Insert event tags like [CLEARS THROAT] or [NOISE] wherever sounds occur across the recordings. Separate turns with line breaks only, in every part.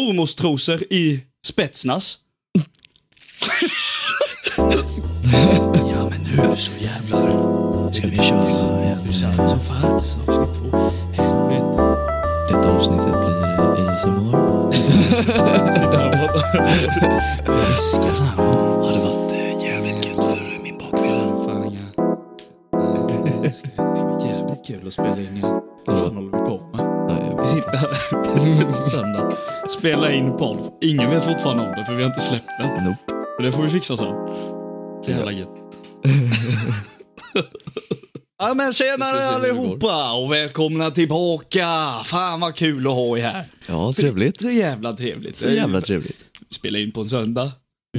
mormorstrosor i Spetsnaz. ja, men nu så jävlar. Ska vi köra Husar som fanns avsnitt
[LAUGHS]
två. Helvete.
Detta avsnittet blir ASMR. [LAUGHS]
Sitter här och
Fiska samman. Har det varit eh, jävligt gött för min bakfylla? Eh,
Fan, jag det ska
typ
bli jävligt kul att spela in igen. Vad fan håller vi på med?
Nej,
Vi
jag vet inte.
sitter här på söndag, spelar in podd. Ingen vet fortfarande om det, för vi har inte släppt den.
Nope.
Men det får vi fixa sen. Så jävla gött. [LAUGHS] Ja men tjenare
Precis, hur det
allihopa och välkomna tillbaka! Fan vad kul att ha er här.
Ja, trevligt.
Så jävla trevligt.
Så jävla trevligt.
Spela in på en söndag.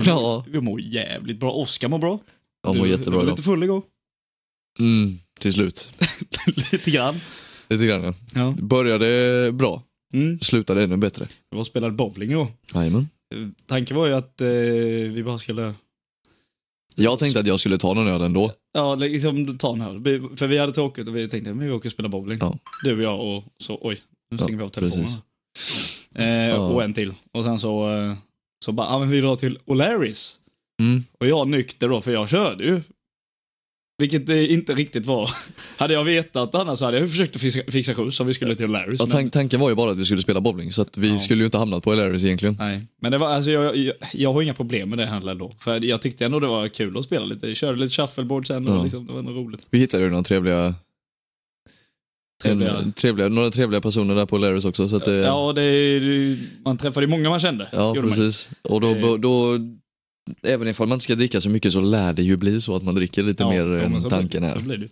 Ja.
Vi mår jävligt bra. Oskar mår bra.
Jag mår
Du-
jättebra
Du var
idag.
lite full igår.
Mm, till slut.
[LAUGHS] lite grann.
Lite grann ja.
Ja.
Började bra,
Mm.
slutade ännu bättre.
Vi var och spelade bowling igår.
Jajamän.
Eh, Tanken var ju att eh, vi bara skulle
Jag tänkte att jag skulle ta någon öl ändå.
ja, liksom, ta en öl. Vi- För vi hade tråkigt och vi tänkte men vi åker och spelar bowling.
Ja.
Du och jag och så, oj, nu
Ja,
stänger vi av telefonen.
precis.
Eh,
Ja.
Och en till. Och sen så, eh, så bara, ja men vi drar till O'Larrys.
Mm.
Och jag nykter då, för jag körde ju. Vilket det inte riktigt var. [LAUGHS] Hade jag vetat annars så hade jag ju försökt att fixa, fixa skjuts om vi skulle till O'Larrys.
Ja,
men-
tan- tanken var ju bara att vi skulle spela bowling, så att vi
Ja.
skulle ju inte hamnat på Hilarys egentligen.
Nej, men det var, alltså, jag, jag, jag har inga problem med det heller då. För jag tyckte ändå det var kul att spela lite. Jag körde lite shuffleboard sen och
Ja.
liksom, det var nog roligt.
Vi hittade ju några trevliga,
Trevliga.
En, trevliga, några trevliga personer där på Hilarys också. Så att, eh,
Ja, det, är ju- man träffade ju många man kände.
Ja,
gjorde man ju.
precis. Och då,
Eh.
då, även ifall man inte ska dricka så mycket så lär det ju bli så att man dricker lite
Ja,
mer
ja, men
än
så
tanken
blir, Så
är.
blir det.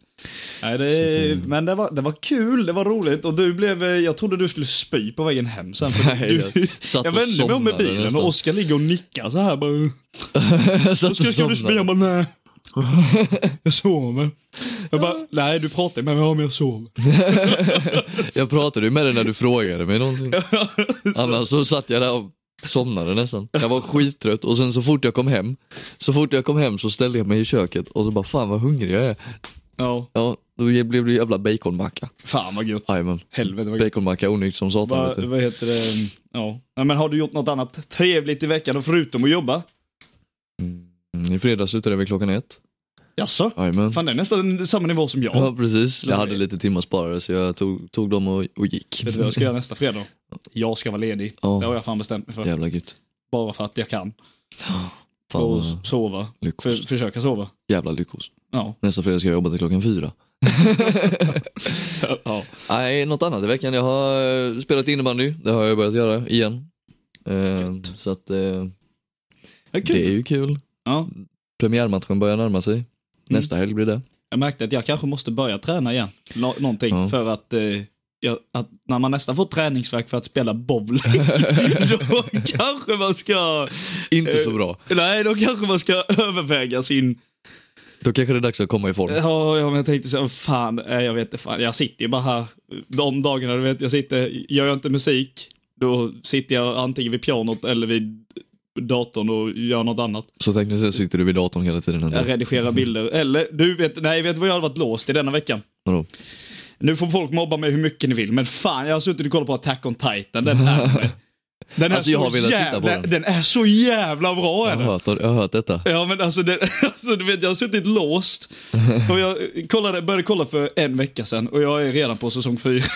Nej, det,
Så att, eh.
men det var, det var kul, det var roligt och du blev, eh, jag trodde du skulle spy på vägen hem sen. För
[LAUGHS] Nej,
du,
jag satt
jag
och
vände mig om i
somnade
bilen
nästan.
och Oskar ligger och nickar så här bara.
[LAUGHS] Jag satt och
Oskar, ska du spy? Jag
somnade.
bara, nej.
[LAUGHS]
Jag sover. Jag bara, nej du pratar med mig om jag sover.
Jag pratade ju med dig när du frågade
[LAUGHS]
mig någonting. Annars så satt jag där och somnade nästan. Jag var skittrött och sen så fort jag kom hem, så fort jag kom hem så ställde jag mig i köket och så bara fan vad hungrig jag är.
Ja,
Ja, då blev det ju jävla baconmacka.
fan vad gött.
Jajamän.
Helvete vad gött.
Baconmacka onykt som satan vet
Vad,
du.
vad heter det? Ja. ja. Men har du gjort något annat trevligt i veckan då förutom att jobba?
Mm, I fredags slutade vi klockan ett.
Jaså?
Jajamän.
Fan det är nästan samma nivå som jag.
Ja, precis.
Slå
Jag hade
dig.
lite timmar sparade så jag tog, tog dem och, och gick.
Vet du vad jag ska göra nästa fredag? Jag ska vara ledig. Det
Ja,
har jag fan bestämt mig för.
jävla gött.
Bara för att jag kan.
Fan
och
vad
s- sova. För,
lyckost.
försöka sova.
Jävla lyckost.
Ja.
Nästa fredag ska jag jobba till klockan fyra.
ja.
Nej, något annat i veckan. Jag har eh, spelat innebandy. Det har jag börjat göra igen. Eh, så att eh,
Det är
det är
kul. Mm.
ju kul.
Ja.
Premiärmatchen börjar närma sig. Nästa helg blir det.
Jag märkte att jag kanske måste börja träna igen. Nå- någonting.
Ja.
För att, eh, jag, att när man nästan får träningsvärk för att spela
[LAUGHS]
bowling. [LAUGHS] då kanske man ska...
Inte
Eh,
så bra.
Nej, då kanske man ska [LAUGHS] överväga sin...
Då kanske det är dags att komma i form.
Ja, ja, men jag tänkte så här, fan, nej, jag vet inte, fan, jag sitter ju bara här de dagarna, du vet, jag sitter, gör jag inte musik, då sitter jag antingen vid pianot eller vid datorn och gör något annat.
Så tekniskt sett sitter du vid datorn hela tiden ändå.
Jag redigerar bilder, eller, du vet, nej, vet du vad jag har varit låst i denna veckan?
Vadå?
Nu får folk mobba mig hur mycket ni vill, men fan, jag har suttit och kollat på Attack on Titan, den är
[LAUGHS]
mig. Den är,
Alltså, jag
så
har velat titta
jävla,
på den.
den är så jävla bra!
Jag
är
har
den.
hört, jag har hört detta.
Ja men alltså, det, [LAUGHS] alltså du vet jag har suttit låst. Och jag kollade, började kolla för en vecka sedan och jag är redan på säsong fyra. [LAUGHS]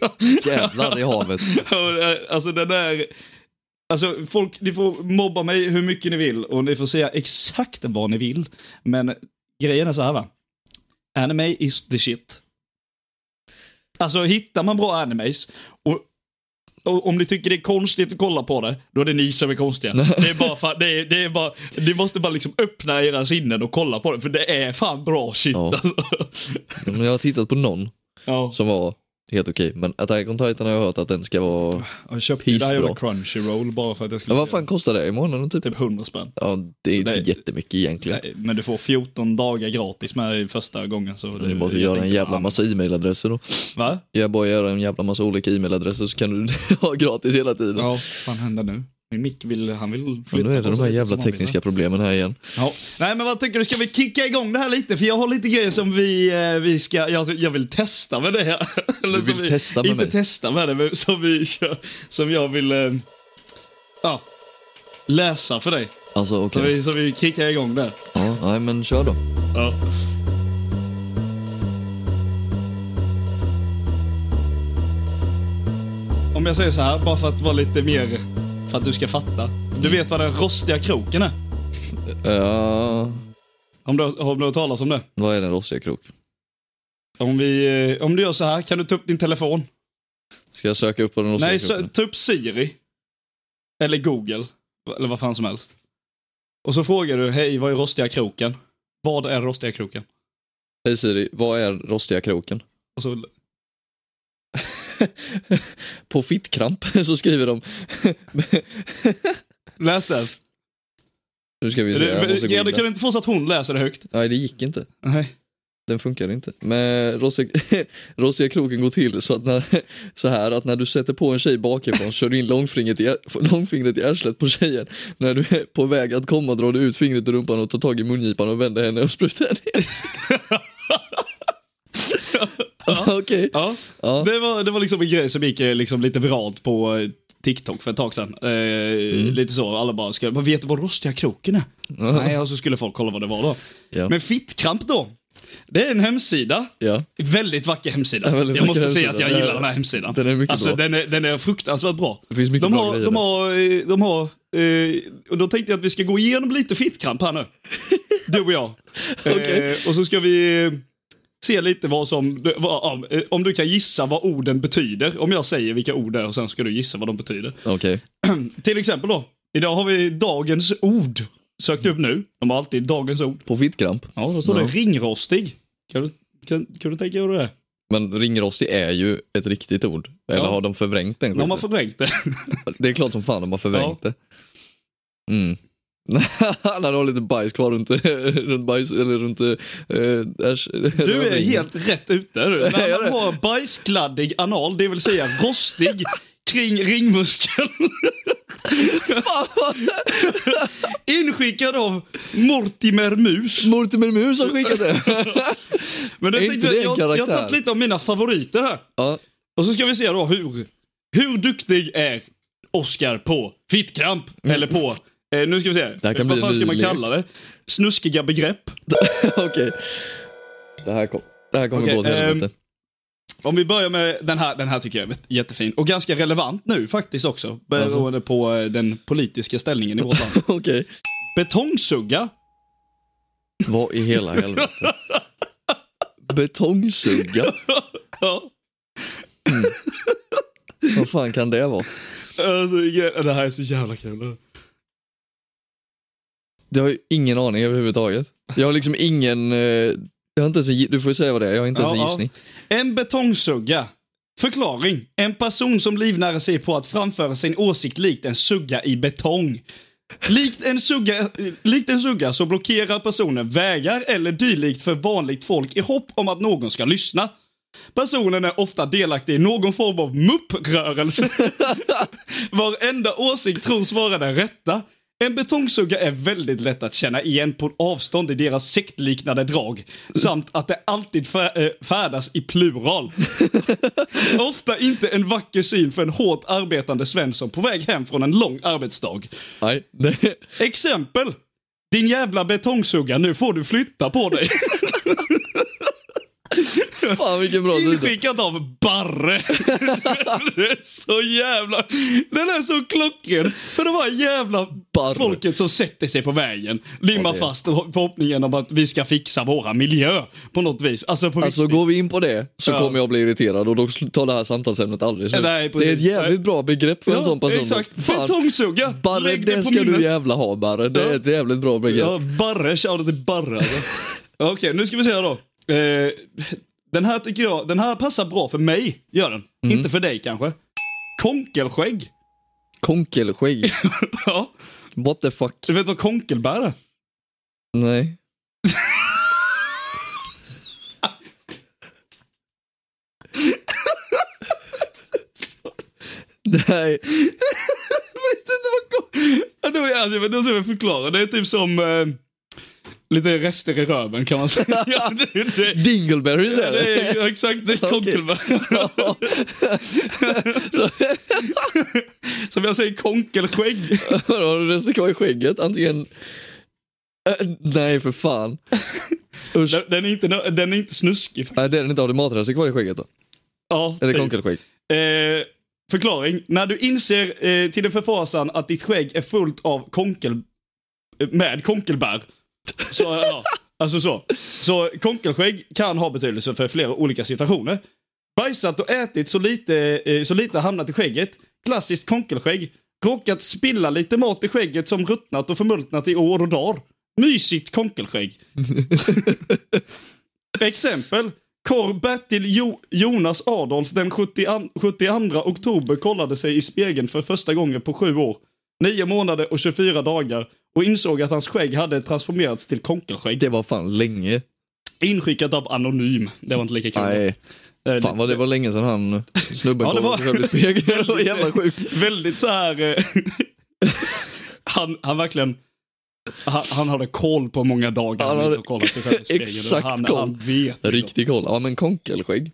Ja. Jävlar i havet.
Och, eh, Alltså den där... Alltså folk, ni får mobba mig hur mycket ni vill och ni får säga exakt vad ni vill. Men grejen är så här va. Anime is the shit. Alltså hittar man bra animes och, och om ni tycker det är konstigt att kolla på det, då är det ni som är konstiga. Det är bara, fan, det är, det är bara ni måste bara liksom öppna era sinnen och kolla på det, för det är fan bra shit
Ja.
alltså.
Men Jag har tittat på någon
Ja.
som var helt okej. Men Attack on Titan har jag hört att den ska vara...
Jag köpte ju det här
Pissbra.
jävla crunchyroll bara för att jag skulle...
Ja, vad fan kostar det i månaden typ?
Typ 100 spänn.
Ja, det är ju
Så det-
inte jättemycket egentligen.
Nej, men Eh, du får 14 dagar gratis med första gången. Så
Du måste
jag
göra en
tänker,
jävla
fan.
massa e-mailadresser då.
Va?
Jag bara gör en jävla massa olika e-mailadresser så kan du [LAUGHS] ha gratis hela tiden.
Ja, vad fan händer nu? Min mick vill, han vill
Men
flytta
nu är det
på
de
sig
här
lite
jävla
som han vill,
tekniska problemen här igen.
va? Ja. Nej men vad tycker du, ska vi kicka igång det här lite? För jag har lite grejer som vi, eh, vi ska, jag, jag vill testa med det här. Eller
Du
som
vill
vi,
testa med
Inte
mig?
testa med det, men som vi kör, som jag vill eh, ja, läsa för dig.
Alltså
Så
okej.
vi, så vi kickar igång där.
Ja, nej men kör då.
Ja. Om jag säger så här, bara för att vara lite mer... För att du ska fatta. Du
Mm.
vet vad den rostiga kroken är?
Ja,
Om du, om du har hört talas om det.
vad är den rostiga krok?
Om, vi, eh, om du gör så här, kan du ta upp din telefon?
Ska jag söka upp på den rostiga
Nej,
kroken?
så, ta upp Siri. Eller Google. Eller vad fan som helst. Och så frågar du, hej, vad är rostiga kroken? Vad är rostiga kroken?
Hej Siri, vad är rostiga kroken?
Och så,
På fittkramp [LAUGHS] så skriver de...
läs den.
nu ska vi se, jag måste gå
Du,
in
du kan
där.
inte få så att hon läser det högt?
Nej, det gick inte.
Nej.
Den funkar inte. Men rostiga, [LAUGHS] rostiga kroken går till så, att när, [LAUGHS] så här att när du sätter på en tjej bakifrån så kör du in långfingret i, [LAUGHS] långfingret i arslet på tjejen. När du är på väg att komma drar du ut fingret ur rumpan och tar tag i mungipan och vänder henne och sprutar henne i ansiktet. [LAUGHS] Okej.
Ja,
Ja.
Det, var, det var liksom en grej som gick eh, liksom lite viralt på eh, TikTok för ett tag sedan. Eh,
Mm.
Lite så, alla bara skulle, "Vad vet du vad rostiga kroken är? Nej, och så skulle folk kolla vad det var då.
Ja.
Men Fittkramp då? Det är en hemsida.
Ja.
Väldigt vacker hemsida.
Ja, väldigt
jag måste
vacker
säga att
hemsida.
jag gillar
Ja.
den här hemsidan.
Den är mycket
alltså,
bra.
Den är, den är fruktansvärt bra.
Det finns mycket
de
bra
har,
grejer
de
där.
har, eh, de har, eh, och då tänkte jag att vi ska gå igenom lite fittkramp här nu. Du och jag.
[LAUGHS] Okej.
Eh, och så ska vi eh, se lite vad som, vad, om- eh, om du kan gissa vad orden betyder. Om jag säger vilka ord det är och sen ska du gissa vad de betyder. [CLEARS THROAT]
Okej.
Till exempel då, idag har vi dagens ord. Sökt upp nu. De har alltid dagens ord.
På fittkramp.
Ja, då står
Ja.
det ringrostig. Kan du, kan, kan du tänka dig vad det är?
Men ringrostig är ju ett riktigt ord. Eller
Ja.
har de förvrängt den?
De har
skiten?
förvrängt det.
[LAUGHS] Det är klart som fan de har förvrängt det. Mm. [LAUGHS] Han har lite bajs kvar runt, [LAUGHS] runt bajs, eller runt... eh, ärs-
Du är helt rätt ute. Du.
[LAUGHS] Ja,
När
jag
man
är.
har bajskladdig anal, det vill säga
[LAUGHS]
rostig, kring ringmuskeln. Inskickad av Mortimer Mus.
Mortimer Mus har
[LAUGHS]
skickat det.
Men det
Är
tänkte
inte
jag,
det en
jag, jag har
karaktär?
tagit lite av mina favoriter här.
ja,
Och så ska vi se då hur, hur duktig är Oscar på fittkramp? Eller på, eh, nu ska vi se,
Mm. här kan
vad
bli
fan
en
ska
ny
man
lek.
kalla det? Snuskiga begrepp.
okej. Det här, kom, det här kommer
Okej,
gå åt helvete. [LAUGHS]
ehm, Om vi börjar med den här, den här tycker jag är jättefin. Och ganska relevant nu faktiskt också. Beroende på eh, den politiska ställningen i vårt [LAUGHS] land.
Okej.
Betongsugga.
Vad i hela
[LAUGHS]
helvete? Betongsugga?
Ja.
Vad fan kan det vara?
Alltså, ja, det här är så jävla kul.
Jag har ju ingen aning överhuvudtaget. Jag har liksom ingen... eh, jag har inte ens en, gi- du får ju säga vad det är, jag har inte ens
Ja,
en
ja.
gissning.
En betongsugga. Förklaring. En person som livnär sig på att framföra sin åsikt likt en sugga i betong. Likt en, sugga, likt en sugga så blockerar personen vägar eller dylikt för vanligt folk i hopp om att någon ska lyssna. Personen är ofta delaktig i någon form av mupprörelse. Varenda åsikt tros vara den rätta. En betongsugga är väldigt lätt att känna igen på avstånd i deras sektliknande drag. Samt att det alltid fär- eh, färdas i plural. Ofta inte en vacker syn för en hårt arbetande Svensson på väg hem från en lång arbetsdag.
Nej, det,
Exempel. Din jävla betongsugga, nu får du flytta på dig.
[LAUGHS] fan vilken bra sida.
Inskickat av
[LAUGHS]
Barre. det är så jävla... Den är så klockren. För det var jävla
Barre.
folket som sätter sig på vägen. Limmar
det är-
fast förhoppningen om att vi ska fixa våra miljö på något vis. Alltså på
Alltså
riktigt.
går vi in på det så
Ja.
kommer jag bli irriterad och då tar det här samtalsämnet aldrig slut.
Nej,
det är ett
precis. Nej.
jävligt bra begrepp för en
Ja,
sån person.
Exakt.
Fan,
Betongsugga.
Barre,
Lägg det,
det
på
ska
minnet.
du jävla ha Barre. Det
Ja.
är ett jävligt bra begrepp.
Ja, Barre. Shoutout till Barre.
[LAUGHS]
Alltså. Okej, nu ska vi se här då. Eh, den här tycker jag, den här passar bra för mig. Gör den.
Mm.
Inte för dig kanske. Konkelskägg. [LAUGHS]
Konkelskägg.
Ja.
What the fuck?
Du vet vad konkelbär är?
Nej. Nej.
Ja, det var- Alltså, men då ska jag förklara. Det är typ som... Eh, Lite rester i röven kan man säga. Ja, det, det,
Dingleberries är det.
det är ju exakt det är konkelbär. [LAUGHS]
Så,
Som jag säger, konkelskägg.
[LAUGHS] vadå, har du resten kvar i skägget? Antingen... Äh, nej, för fan. Usch.
Den, den, är inte, nö- den är inte snuskig.
Nej, det är den inte. Har du matrester kvar i skägget då?
Ja,
Eller
typ.
konkelskägg?
Eh, förklaring. När du inser eh, till din förfasan att ditt skägg är fullt av konkel... eh, Med konkelbär. Så, ja, alltså så. Så konkelskägg kan ha betydelse för flera olika situationer. Bajsat och ätit så lite, eh, så lite har hamnat i skägget. Klassiskt konkelskägg. Råkat spilla lite mat i skägget som ruttnat och förmultnat i år och dagar. Mysigt konkelskägg. [LAUGHS] Exempel. Korr Bertil jo Jonas Adolf den 70 72 oktober kollade sig i spegeln för första gången på sju år. Nio månader och 24 dagar och insåg att hans skägg hade transformerats till konkelskägg.
Det var fan länge.
Inskickat av Anonym. Det var inte lika kul.
Nej,
Eh,
fan vad det var länge sedan han snubben
Ja, det
kollade
var-
sig själv i spegeln. [LAUGHS] Det var jävla sjukt.
Väldigt så här... eh, [LAUGHS] han, han verkligen... Han, han hade koll på många dagar
Han
han hade
hade-
kollat sig själv i spegeln.
Exakt
han,
koll.
Han vet. liksom.
Riktig koll. Ja, men konkelskägg.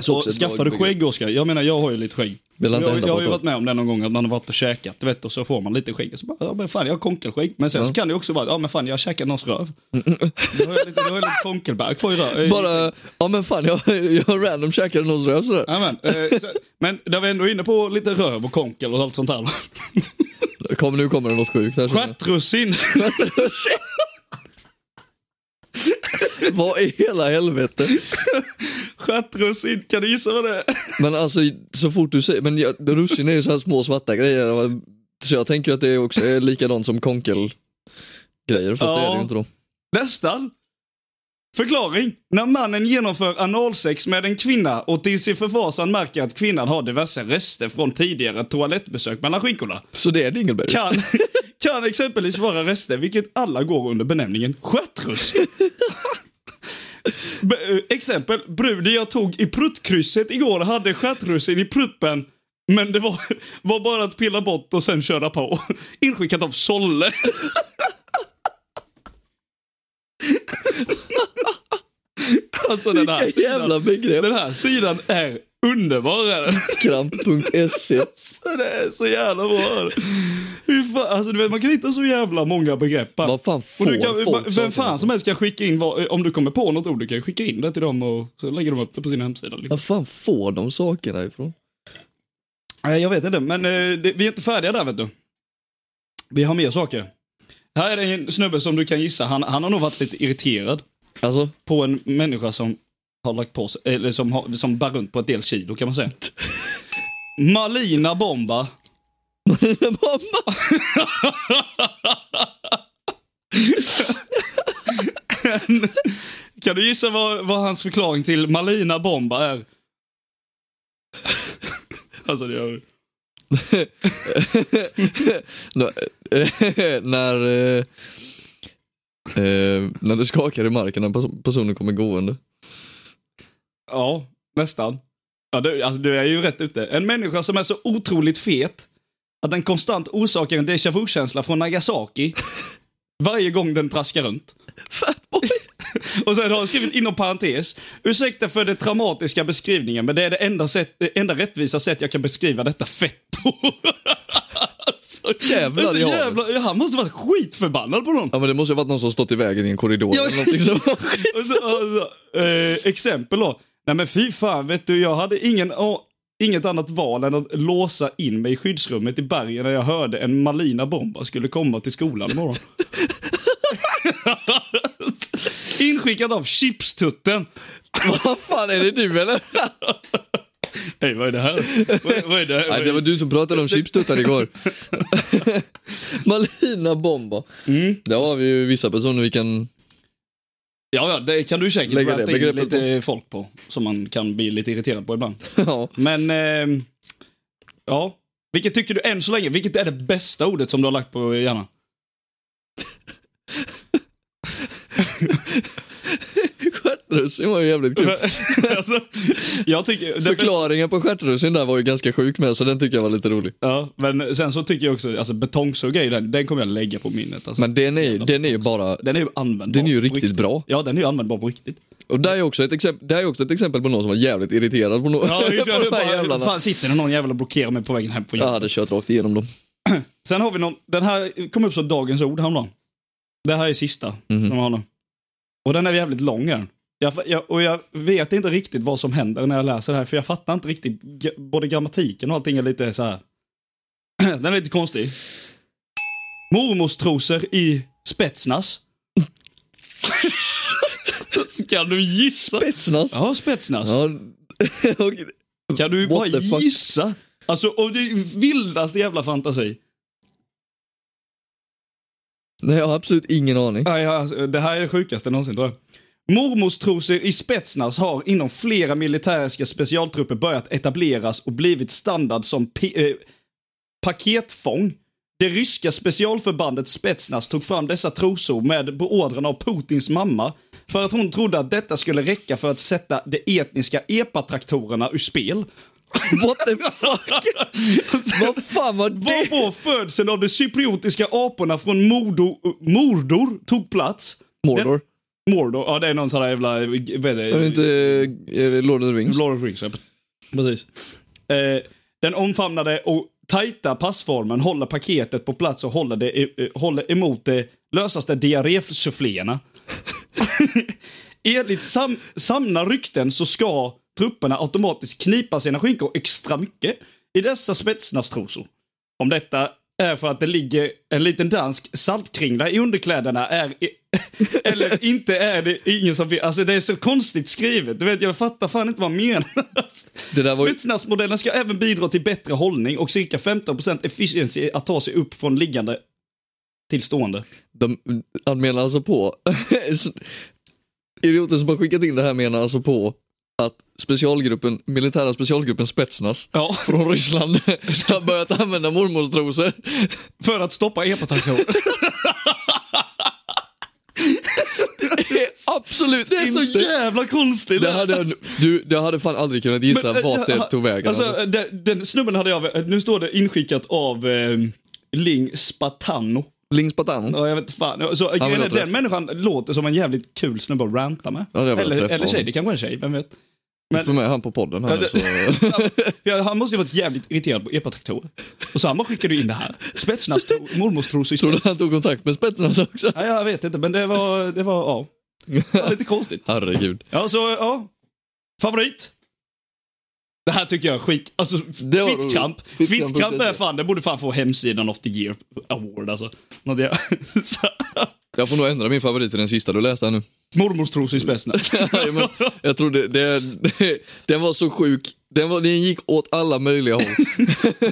Så
Också ett
skaffar du
lagbygge.
skägg Oskar? Jag menar jag har ju lite skägg.
Det lär inte
jag,
hända
jag
på
har
ett
ju
tag.
varit med om det någon gång att man har varit och käkat du vet, och så får man lite skägg. Och så bara, ja men fan jag har konkelskänk. Men sen så kan det ju också vara, ja men fan jag har käkat någons
[LAUGHS]
röv. Då har jag lite, då har jag lite konkelbär kvar i röv.
Bara, ja men fan jag, jag random käkade någons röv sådär.
Amen. Eh, Men där vi ändå är inne på lite röv och konkel och allt sånt
Mm.
här.
Kom nu kommer det något sjukt här. känner jag.
Stjärtrussin.
[LAUGHS] Vad i hela helvete?
Stjärtrussin, kan du gissa vad det är? [LAUGHS]
Men alltså så fort du säger, men jag, russin är ju så här små svarta grejer. Så jag tänker ju att det också är likadant som konkel grejer fast det är det ju
Ja.
inte då.
Nästan. Förklaring. När mannen genomför analsex med en kvinna och till sin förfasan märker att kvinnan har diverse rester från tidigare toalettbesök mellan skinkorna.
Så det är dingleberries.
Kan, [LAUGHS] kan exempelvis vara rester, vilket alla går under benämningen
[LAUGHS]
stjärtrussin. B- eh, exempel, bruden jag tog i pruttkrysset igår hade stjärtrussin i prutten. Men det var, [LAUGHS] var bara att pilla bort och sen köra på. [LAUGHS] Inskickat av
[LAUGHS]
Solle. alltså den här,
Vilka jävla
sidan,
begrepp.
den här sidan är underbar. är den.
Kramp.se.
Så det är så jävla bra. Hur fan, alltså, du vet, man kan hitta så jävla många begrepp. här.
Vad fan
och
får
du kan,
folk
vem
sånt
fan
ifrån?
som helst kan skicka in, vad, om du kommer på något ord, du kan ju skicka in det till dem och så lägger de upp det på sin hemsida. Liksom.
Vad fan får de sakerna ifrån?
Nej, jag vet inte, men eh, det, vi är inte färdiga där vet du. Vi har mer saker. Här är det en snubbe som du kan gissa, han, han har nog varit lite irriterad
Alltså, [LAUGHS]
på en människa som har lagt på sig, eller som, har, som bär runt på ett del kilo kan man
[LAUGHS]
säga. Malina Bomba.
mamma!
[LAUGHS] Kan du gissa vad, vad hans förklaring till Malina Bomba är? [LAUGHS] alltså det gör
Nå- eh, [LAUGHS] när, eh, eh, när det skakar i marken när pers- personen kommer gående.
Ja, nästan. Ja, du, alltså, du är ju rätt ute. En människa som är så otroligt fet att den konstant orsakar en déjà vu-känsla från Nagasaki varje gång den traskar runt.
Fatboy!
[LAUGHS] Och sen har han skrivit inom parentes. Ursäkta för den traumatiska beskrivningen, men det är det enda, sätt, det enda rättvisa sätt jag kan beskriva detta fett på. [LAUGHS] alltså,
Jävlar
alltså,
i havet.
jävlar ja, Han måste vara skitförbannad på någon.
Ja men det måste ju ha varit någon som stått i vägen i en korridor
Ja.
eller någonting som [LAUGHS] var skit.
Och så, och så, Alltså, eh, exempel då. Nej men fy fan, vet du, jag hade ingen, a- inget annat val än att låsa in mig i skyddsrummet i bergen när jag hörde en Malina Bomba skulle komma till skolan imorgon. [LAUGHS] Inskickad av Chipstutten.
Vad fan är det du eller?
Hej, vad är det här? Vad, vad är det här?
Nej det var du som pratade om chipstuttar igår. [LAUGHS] Malina Bomba.
Mm.
Där har vi ju vissa personer vi kan... [LAUGHS]
Ja, ja, det kan du säkert
Lägger det
välta in
begreppet
lite folk på. Som man kan bli lite irriterad på ibland.
Ja.
Men, ehm, ja. Vilket tycker du än så länge, vilket är det bästa ordet som du har lagt på hjärnan?
Stjärt- Stjärtrussin var ju jävligt kul.
alltså, jag tycker... [LAUGHS] det bästa-
Förklaringen på stjärtrussin där var ju ganska sjuk med, så den tycker jag var lite rolig.
Ja, men sen så tycker jag också, alltså betongsugga i den, den kommer jag lägga på minnet. Alltså.
Men den är, ju- den är ju bara...
den är ju användbar.
Den är ju
på
riktigt bra.
Ja, den är ju användbar på riktigt.
Och det är ju också ett exempel, det är ju också ett exempel på någon som var jävligt irriterad på,
[LAUGHS]
no- [LAUGHS] på de här jävlarna.
fan, sitter det någon jävel och blockerar mig på vägen hem på
Jag
jobbet?
hade kört rakt igenom dem.
Sen har vi någon, den här kom upp som dagens ord häromdagen. Det här är sista. som de har nu. Och den är jävligt lång är den. jag, jag, Och jag vet inte riktigt vad som händer när jag läser det här, för jag fattar inte riktigt. g- Både grammatiken och allting är lite så här. [CLEARS THROAT] Den är lite konstig. Mormorstrosor i spetsnas. kan du gissa?
Spetsnas.
Ja, spetsnas.
Ja. [LAUGHS] och-
Kan du
What
bara
the fuck?
gissa? Alltså, och det är vildaste jävla fantasi.
Nej, jag har absolut
[LAUGHS]
ingen aning.
Nej, alltså, det här är det sjukaste någonsin tror jag. Mormorstrosor i Spetsnaz har inom flera militäriska specialtrupper börjat etableras och blivit standard som pi- eh, paketfång. Det ryska specialförbandet Spetsnaz tog fram dessa trosor med beordran av Putins mamma för att hon trodde att detta skulle räcka för att sätta de etniska epatraktorerna ur spel.
What the fuck? Vad fan var det?
Varpå födseln av de cypriotiska aporna från Mordo, Mordor tog plats.
Mordor.
Mordor, ja det är någon sån där jävla... Vad är det?
Är det inte eh, är det Lord of the Rings?
Lord of the Rings, ja. Precis. Eh, den omfamnade och tajta passformen håller paketet på plats och håller, det, eh, håller emot de lösaste diarrésuffléerna. [LAUGHS] Enligt sam, samna rykten så ska trupperna automatiskt knipa sina skinkor extra mycket i dessa spetsnastrosor. Om detta är för att det ligger en liten dansk saltkringla i [LAUGHS] underkläderna är eller inte är det ingen som vet. Alltså det är så konstigt skrivet. Du vet, jag fattar fan inte vad man
Det där var
menar.
ju-
Spetsnazmodellen ska även bidra till bättre hållning och cirka 15% efficiency att ta sig upp från liggande till stående.
De, han menar alltså på... [LAUGHS] Idioten som har skickat in det här menar alltså på att specialgruppen, militära specialgruppen Spetsnaz
Ja.
från
[LAUGHS]
Ryssland har börjat använda mormonstrosor.
För att stoppa [LAUGHS] epatraktorer.
Absolut
Det är
inte!
så jävla konstigt. Alltså,
det hade, jag, du, jag hade fan aldrig kunnat gissa
Men,
vart
eh,
det tog vägen.
Alltså, den, den snubben hade jag, nu står det inskickat av eh, Ling Spatano.
Lings Patano.
Ja, jag vet fan. Så, grejen är,
låter
den människan låter som en jävligt kul snubbe att ranta med.
Ja, det har jag
eller
träffat
eller tjej,
honom.
det kanske är en tjej, vem vet.
Du får med han på podden här
Ja,
nu,
det-
så...
För han måste ju varit jävligt irriterad på epatraktorer. Och så han bara skickade ju in det här. Spetsnaz, mormorstrosor i
Tror du
spets.
att han tog kontakt med
[LAUGHS]
Spetsnaz också?
Ja, jag vet inte, men det var, det var, ja. Det var lite konstigt.
Herregud.
Ja, så, ja. Favorit? Det här tycker jag är skit. Alltså,
Det var roligt.
Fittkamp.
Fittkamp.
Fittkamp är fan, det borde fan få hemsidan of the year award alltså. Något jag... [LAUGHS] så-
Jag får nog ändra min favorit till den sista du läste här nu.
Mormorstrosor i spetsnaz.
Ja, men jag trodde, det, det, den var så sjuk. Den, var, den gick åt alla möjliga håll.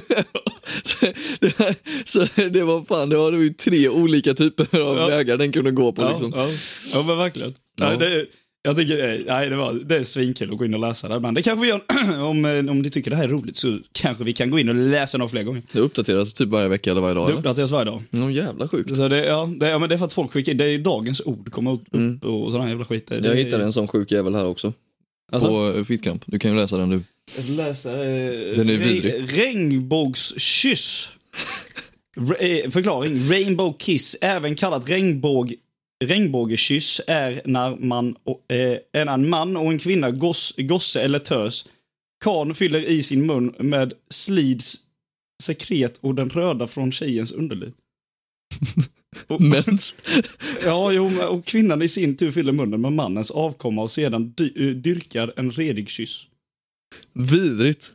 [LAUGHS] så, det, så det var fan, det var, det var ju tre olika typer av vägar den kunde gå på.
Ja,
liksom.
ja. ja men verkligen.
Ja.
Nej, det, jag tycker, eh, nej, det, var, det är svinkul att gå in och läsa det. Men det kanske vi gör, [CLEARS THROAT] om, eh, om ni tycker det här är roligt så kanske vi kan gå in och läsa några fler gånger.
Det uppdateras typ varje vecka eller varje dag.
Det
Eller?
uppdateras varje dag.
Någon jävla sjukt.
Så det, ja, det, ja, men det är för att folk skickar in, det är dagens ord kommer upp och sådana jävla skit. Det,
Mm. Jag hittade en sån sjuk jävel här också.
Alltså?
På eh, Fittkamp. Du kan ju läsa den du.
Läsa,
Den är vidrig.
eh, Regnbågskyss. Re- eh, förklaring. Rainbow kiss, även kallat regnbåg, regnbågekyss, är när, man, och- eh, är när en man och en kvinna, goss, gosse eller tös, kan fyller i sin mun med slids sekret och den röda från tjejens underliv.
Mens.
Ja, jo, men- och kvinnan i sin tur fyller munnen med mannens avkomma och sedan dy- eh, dyrkar en redig kyss.
[LAUGHS] Vidrigt.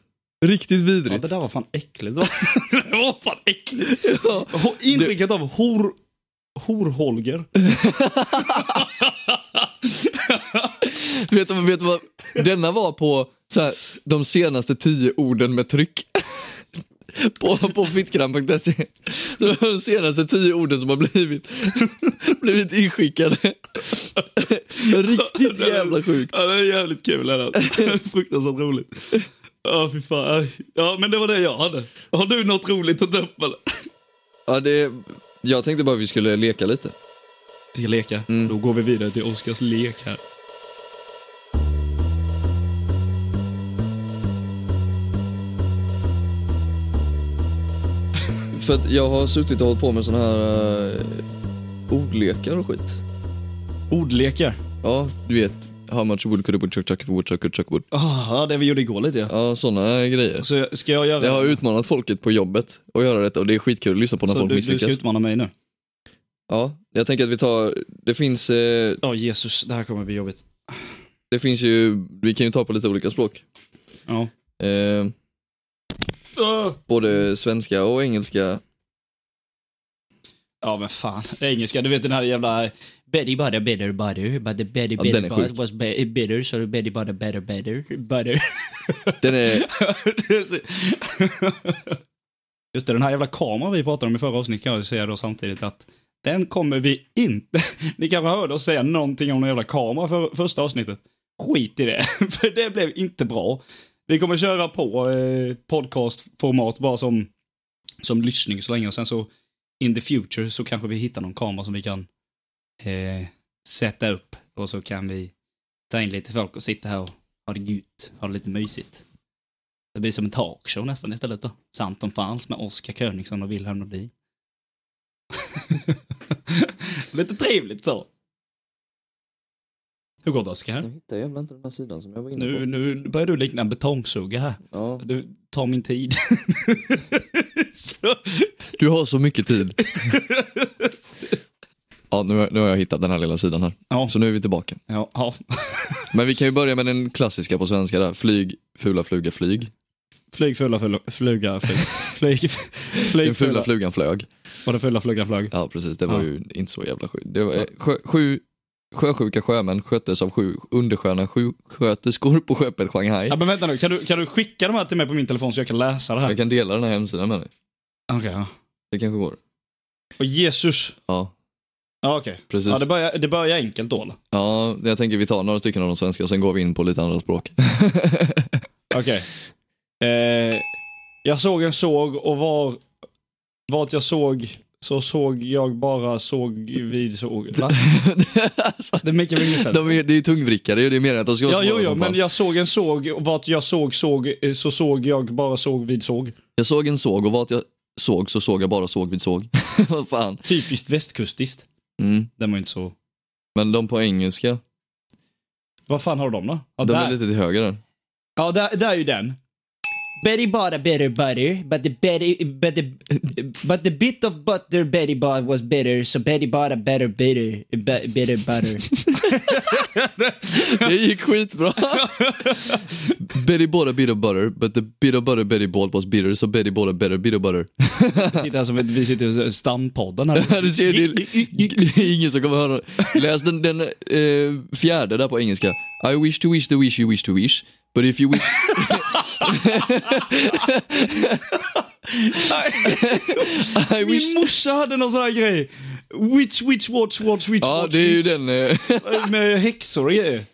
Riktigt
Ja,
vidrigt.
det där var fan äckligt. Det var, [LAUGHS] det var fan äckligt.
Ja.
Ho- Inskickat av hor... Hor-Holger.
Vet du, vet du vad? Denna var på så här, de senaste tio orden med tryck. På, på fittkram.se. Så det var de senaste tio orden som har blivit, [LAUGHS] blivit inskickade. Riktigt jävla sjukt.
Ja, det är jävligt kul. Är det. [LAUGHS] Fruktansvärt roligt. Ja, fy fan. Ja, men det var det jag hade. Har du något roligt att ta upp eller?
Ja, det, jag tänkte bara vi skulle leka lite.
Mm. Vi ska leka. Då går vi vidare till Oskars lek här.
För att jag har suttit och hållit på med såna här eh, ordlekar och skit.
Ordlekar.
Ja, du vet. How much wood could a woodchuck chuck if a woodchuck could chuck wood?
Ah, ja, det vi gjorde igår lite ja.
Ja, såna grejer.
Så jag- ska jag göra
Jag har utmanat folket på jobbet att göra detta och det är skitkul att lyssna på när
Så
folk
du, du
misslyckas.
ska utmana mig nu?
Ja, jag tänker att vi tar, det finns, eh,
Ja, Jesus, det här kommer bli jobbigt.
det finns ju, vi kan ju ta på lite olika språk.
Ja.
Eh,
Ah.
både svenska och engelska.
Ja, men fan. Engelska, du vet den här jävla... Betty butter, bitter butter, but the Betty
Ja,
bitter
den är
butter
sjuk.
was be- bitter, so the Betty butter better better butter. [LAUGHS]
Den är,
Det är så- Just det, den här jävla kameran vi pratade om i förra avsnittet kan jag ju säga då samtidigt att den kommer vi inte... [LAUGHS] Ni kanske hörde oss säga någonting om den jävla kameran för första avsnittet. Skit i det, [LAUGHS] för det blev inte bra. Vi kommer köra på eh, podcastformat bara som, som lyssning så länge och sen så in the future så kanske vi hittar någon kamera som vi kan eh, sätta upp och så kan vi ta in lite folk och sitta här och ha det gött, ha det lite mysigt. Det blir som en talkshow nästan istället då. Sant som fanns med Oskar Königsson och Wilhelm Nordin. [LAUGHS] Lite trevligt så. Hur går det Oskar?
jag hittar jävla inte den här sidan som jag var inne
Nu,
på.
nu börjar du likna en betongsugga här.
Ja.
Du tar min tid. [LAUGHS] så.
Du har så
[LAUGHS]
mycket tid. Ja, nu, har- nu har jag hittat den här lilla sidan här.
Ja.
Så nu är vi tillbaka.
Ja, ja.
Men vi kan ju börja med den klassiska på svenska där. Flyg, fula fluga, flyg.
Flyg fula fula, fluga [LAUGHS] flyg. Flyg,
Den
flyg
fula
fula,
flugan flög.
var det fula flugan flög?
Ja, precis. Det var
Ja.
ju inte så jävla sjukt. Det var, eh, sjö, sju sjösjuka sjömän sköttes av sju undersköna sjuksköterskor på skeppet Shanghai.
Ja men vänta nu, kan du, kan du skicka de här till mig på min telefon så jag kan läsa det här?
Jag kan dela den här hemsidan med dig.
Okej. ja.
Det kanske går.
Och Jesus.
Ja,
Ja okej.
precis.
Ja,
Ja,
det börjar, det börjar enkelt då eller?
jag tänker vi tar några stycken av de svenska, sen går vi in på lite
[LAUGHS]
andra språk.
Okej. Eh, jag såg en såg och var... Vart jag såg så såg jag bara såg vid såg. Va?
alltså,
Det make ingen [LAUGHS] sens.
de är, det är ju tungvrickare, det är mer än att de ska
Ja,
vara
jo,
smala
jo,
som
men
fan.
jag såg en såg och vart jag såg såg eh, så såg jag bara såg vid såg.
Jag såg en såg och vart jag såg så såg jag bara såg vid såg. [LAUGHS] Vad fan.
Typiskt västkustiskt.
Mm.
Den var ju inte så...
Men de på engelska,
Vad fan har de då? Ja,
de
där.
är lite till höger där.
ja där, där är ju den. Betty bought a better butter, but the Betty, but the, but the bit of butter Betty bought was bitter, so Betty bought a better bitter, bitter butter.
Det gick skitbra. [LAUGHS] Betty bought a bit of butter, but the bit of butter Betty bought was bitter, so Betty bought a better bit of butter. [LAUGHS]
sitter här som ett, [LAUGHS] vi sitter i stampodden [LAUGHS] här.
du ser, det, är- [LAUGHS] det är ingen som kommer höra det. Läs den, den eh, fjärde där på engelska. I wish to wish the wish you wish to wish, but
[LAUGHS]
if you wish... I wish...
Min morsa hade någon sån här grej. Witch, witch, watch, watch, witch,
Ja,
watch,
det är ju
witch.
den... Eh, [LAUGHS]
Med häxor och grejer.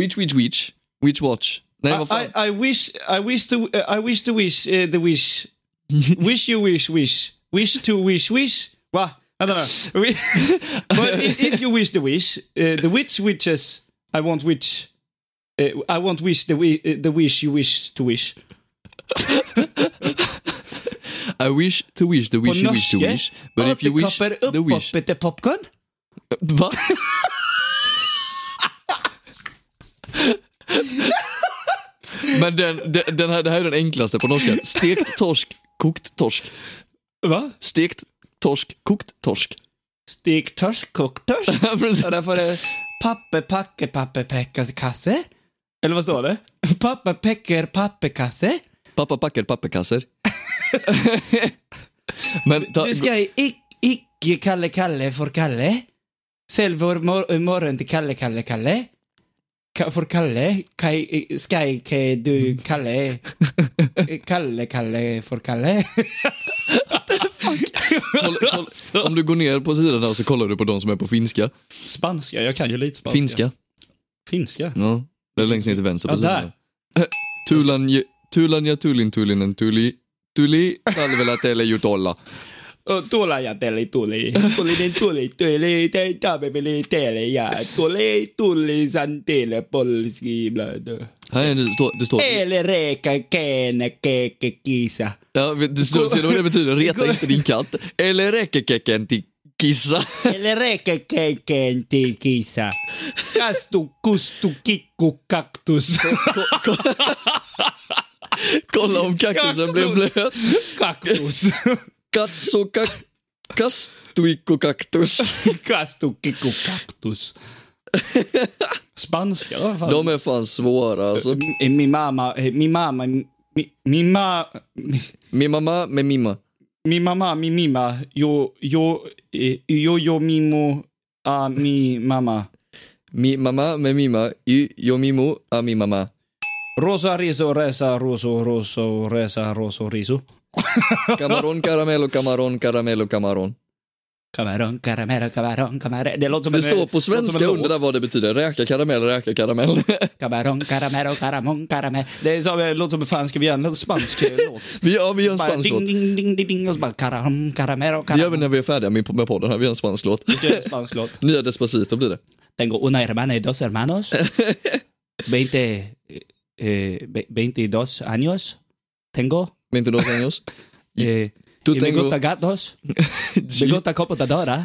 witch, witch, witch. Witch watch. Nej,
Ah,
vad fan.
I, I wish, I wish to, uh, I wish to wish, eh, the
[LAUGHS]
wish. Wish you wish, wish. Wish to wish, wish. Va? Vänta nu. Wi- [LAUGHS] But i- if you wish the wish, eh, the witch witches, I want witch. eh, I want wish the, wi- eh, the wish you wish to wish.
I wish to wish the
ah. På
wish you wish
norska,
to wish, but if you wish
apekatter,
the
upp,
wish...
upp, uh, popcorn.
Va? Men den, den, den här, det här är den enklaste på norska. Stekt torsk, kokt torsk.
Va?
Stekt torsk, kokt torsk.
Stek torsk, kokt
[LAUGHS]
torsk. Och där får det papper, packe, papper, päckar, kasse. Eller vad står det? Papper, päcker, papper, kasse.
Pappa packar papperkasser. Men ta,
Du ska i ick, icke Kalle Kalle för Kalle. Sälj vår mor- morgon till Kalle Kalle Kalle. Ka- för Kalle. Kaj, sky, kaj, du [LAUGHS] Kalle. Kalle Kalle för Kalle.
kolla,
[LAUGHS]
kolla, om du går ner på sidan här så kollar du på de som är på finska.
Spanska, jag kan ju lite spanska.
Finska.
Finska?
Ja. Det är längst ner till vänster på
Ja,
sidan.
där.
Eh, Tulanje, tulanja tulin tulinen tuli. Tuli talvela teille jutolla.
Oh, tuolla ja teli tuli. Tuli niin tuli tuli. Tei tabeli teli ja tuli tuli santille polski blödö.
Här är det, står, det står...
Ele reka kene keke kisa.
Ja, men det står, ser du vad det betyder? Reta inte din katt. Eller räkekeken till kissa.
Ele reka keken ti kisa. Kastu kustu kikku kaktus.
Kolla om kaktusen blev
Kaktus.
blöt.
Kaktus.
Katso kak... Kastuikko kaktus.
Kastu kikku kaktus.
Spanska i alla fall.
De är fan svåra alltså.
Eh, Min mamma, eh, min mamma, mi- min ma... mi-
Min mamma med mimma.
mi mamma, mi mima, yo, yo, eh, yo, yo mimo a mi mamma.
Min mamma med mimma. Y, yo mimo, a mi mamma.
Rosa, riso, resa, roso, roso, resa, roso, riso.
Camaron, caramello, camaron, caramello, camaron.
Kameron, karamell, kameron, kameron. Det låter som
Det
en...
står på svenska under där vad det betyder. Räka karamell, räka karamell. [LAUGHS]
Kameron, karamell, karamon, karamell. Det är som, det låter som en fransk, vi gör en spansk låt.
[LAUGHS] Vi, ja, vi gör en
Bara
spansk låt.
ding, ding, ding, ding, ding, och så bara karam, karamell,
Det gör vi
karamon.
när vi är färdiga med med podden här. Vi gör en spansk låt.
en spansk låt.
Nya Despacito blir det.
Tengo una hermana y dos hermanos. 20, eh, ve- 22 años. Tengo.
Men inte något engelsk.
Eh,
Du
y me
tänker-
gusta gatos. me gusta computadora.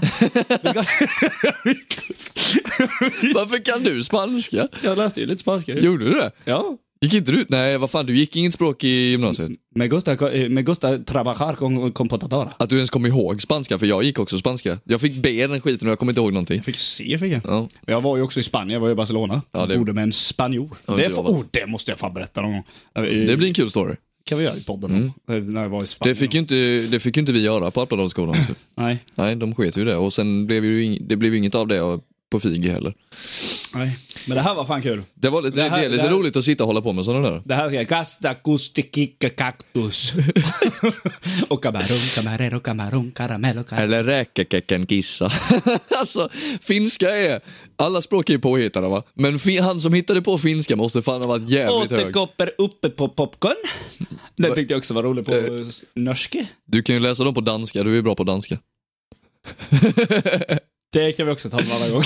[LAUGHS]
[LAUGHS] Varför kan du spanska?
Jag läste ju lite spanska.
Gjorde du det?
Ja.
Gick inte du? Nej, vad fan, du gick inget språk i gymnasiet.
Me gusta, co- eh, me gusta trabajar con computadora.
Att du ens kom ihåg spanska, för jag gick också spanska. Jag fick B i den skiten och jag kommer inte ihåg någonting.
Fick se, fick jag.
Ja.
Jag var ju också i Spanien, jag var i Barcelona.
Ja, det-
Bodde med en spanjor.
det
det, är
var
för,
varit.
oh, det måste jag fan berätta någon gång.
Det blir en kul story.
kan vi göra i podden. om, eh, När jag var i Spanien.
Det fick ju inte, det fick ju inte vi göra på Alpedalsskolan. typ.
Nej.
Nej, de sket ju det. Och sen blev ju ing, det blev ju inget av det på FIG heller.
Nej. Men det här var fan kul.
Det, var, lite- det,
Det här-
är lite
det här-
roligt att sitta och hålla på med sådana där.
Det här ska jag kasta kustikicka
[LAUGHS]
kaktus. och kamarun, kamarero, kamarun, karamello, karamell.
Eller räkekecken kissa. [LAUGHS] alltså, finska är... Alla språk är ju påhittade va? Men fi, han som hittade på finska måste fan ha varit jävligt hög.
Återkoppor uppe på popcorn. Det tyckte jag också var roligt på eh, norske.
Du kan ju läsa dem på danska, du är bra på danska.
Det kan vi också ta en annan gång.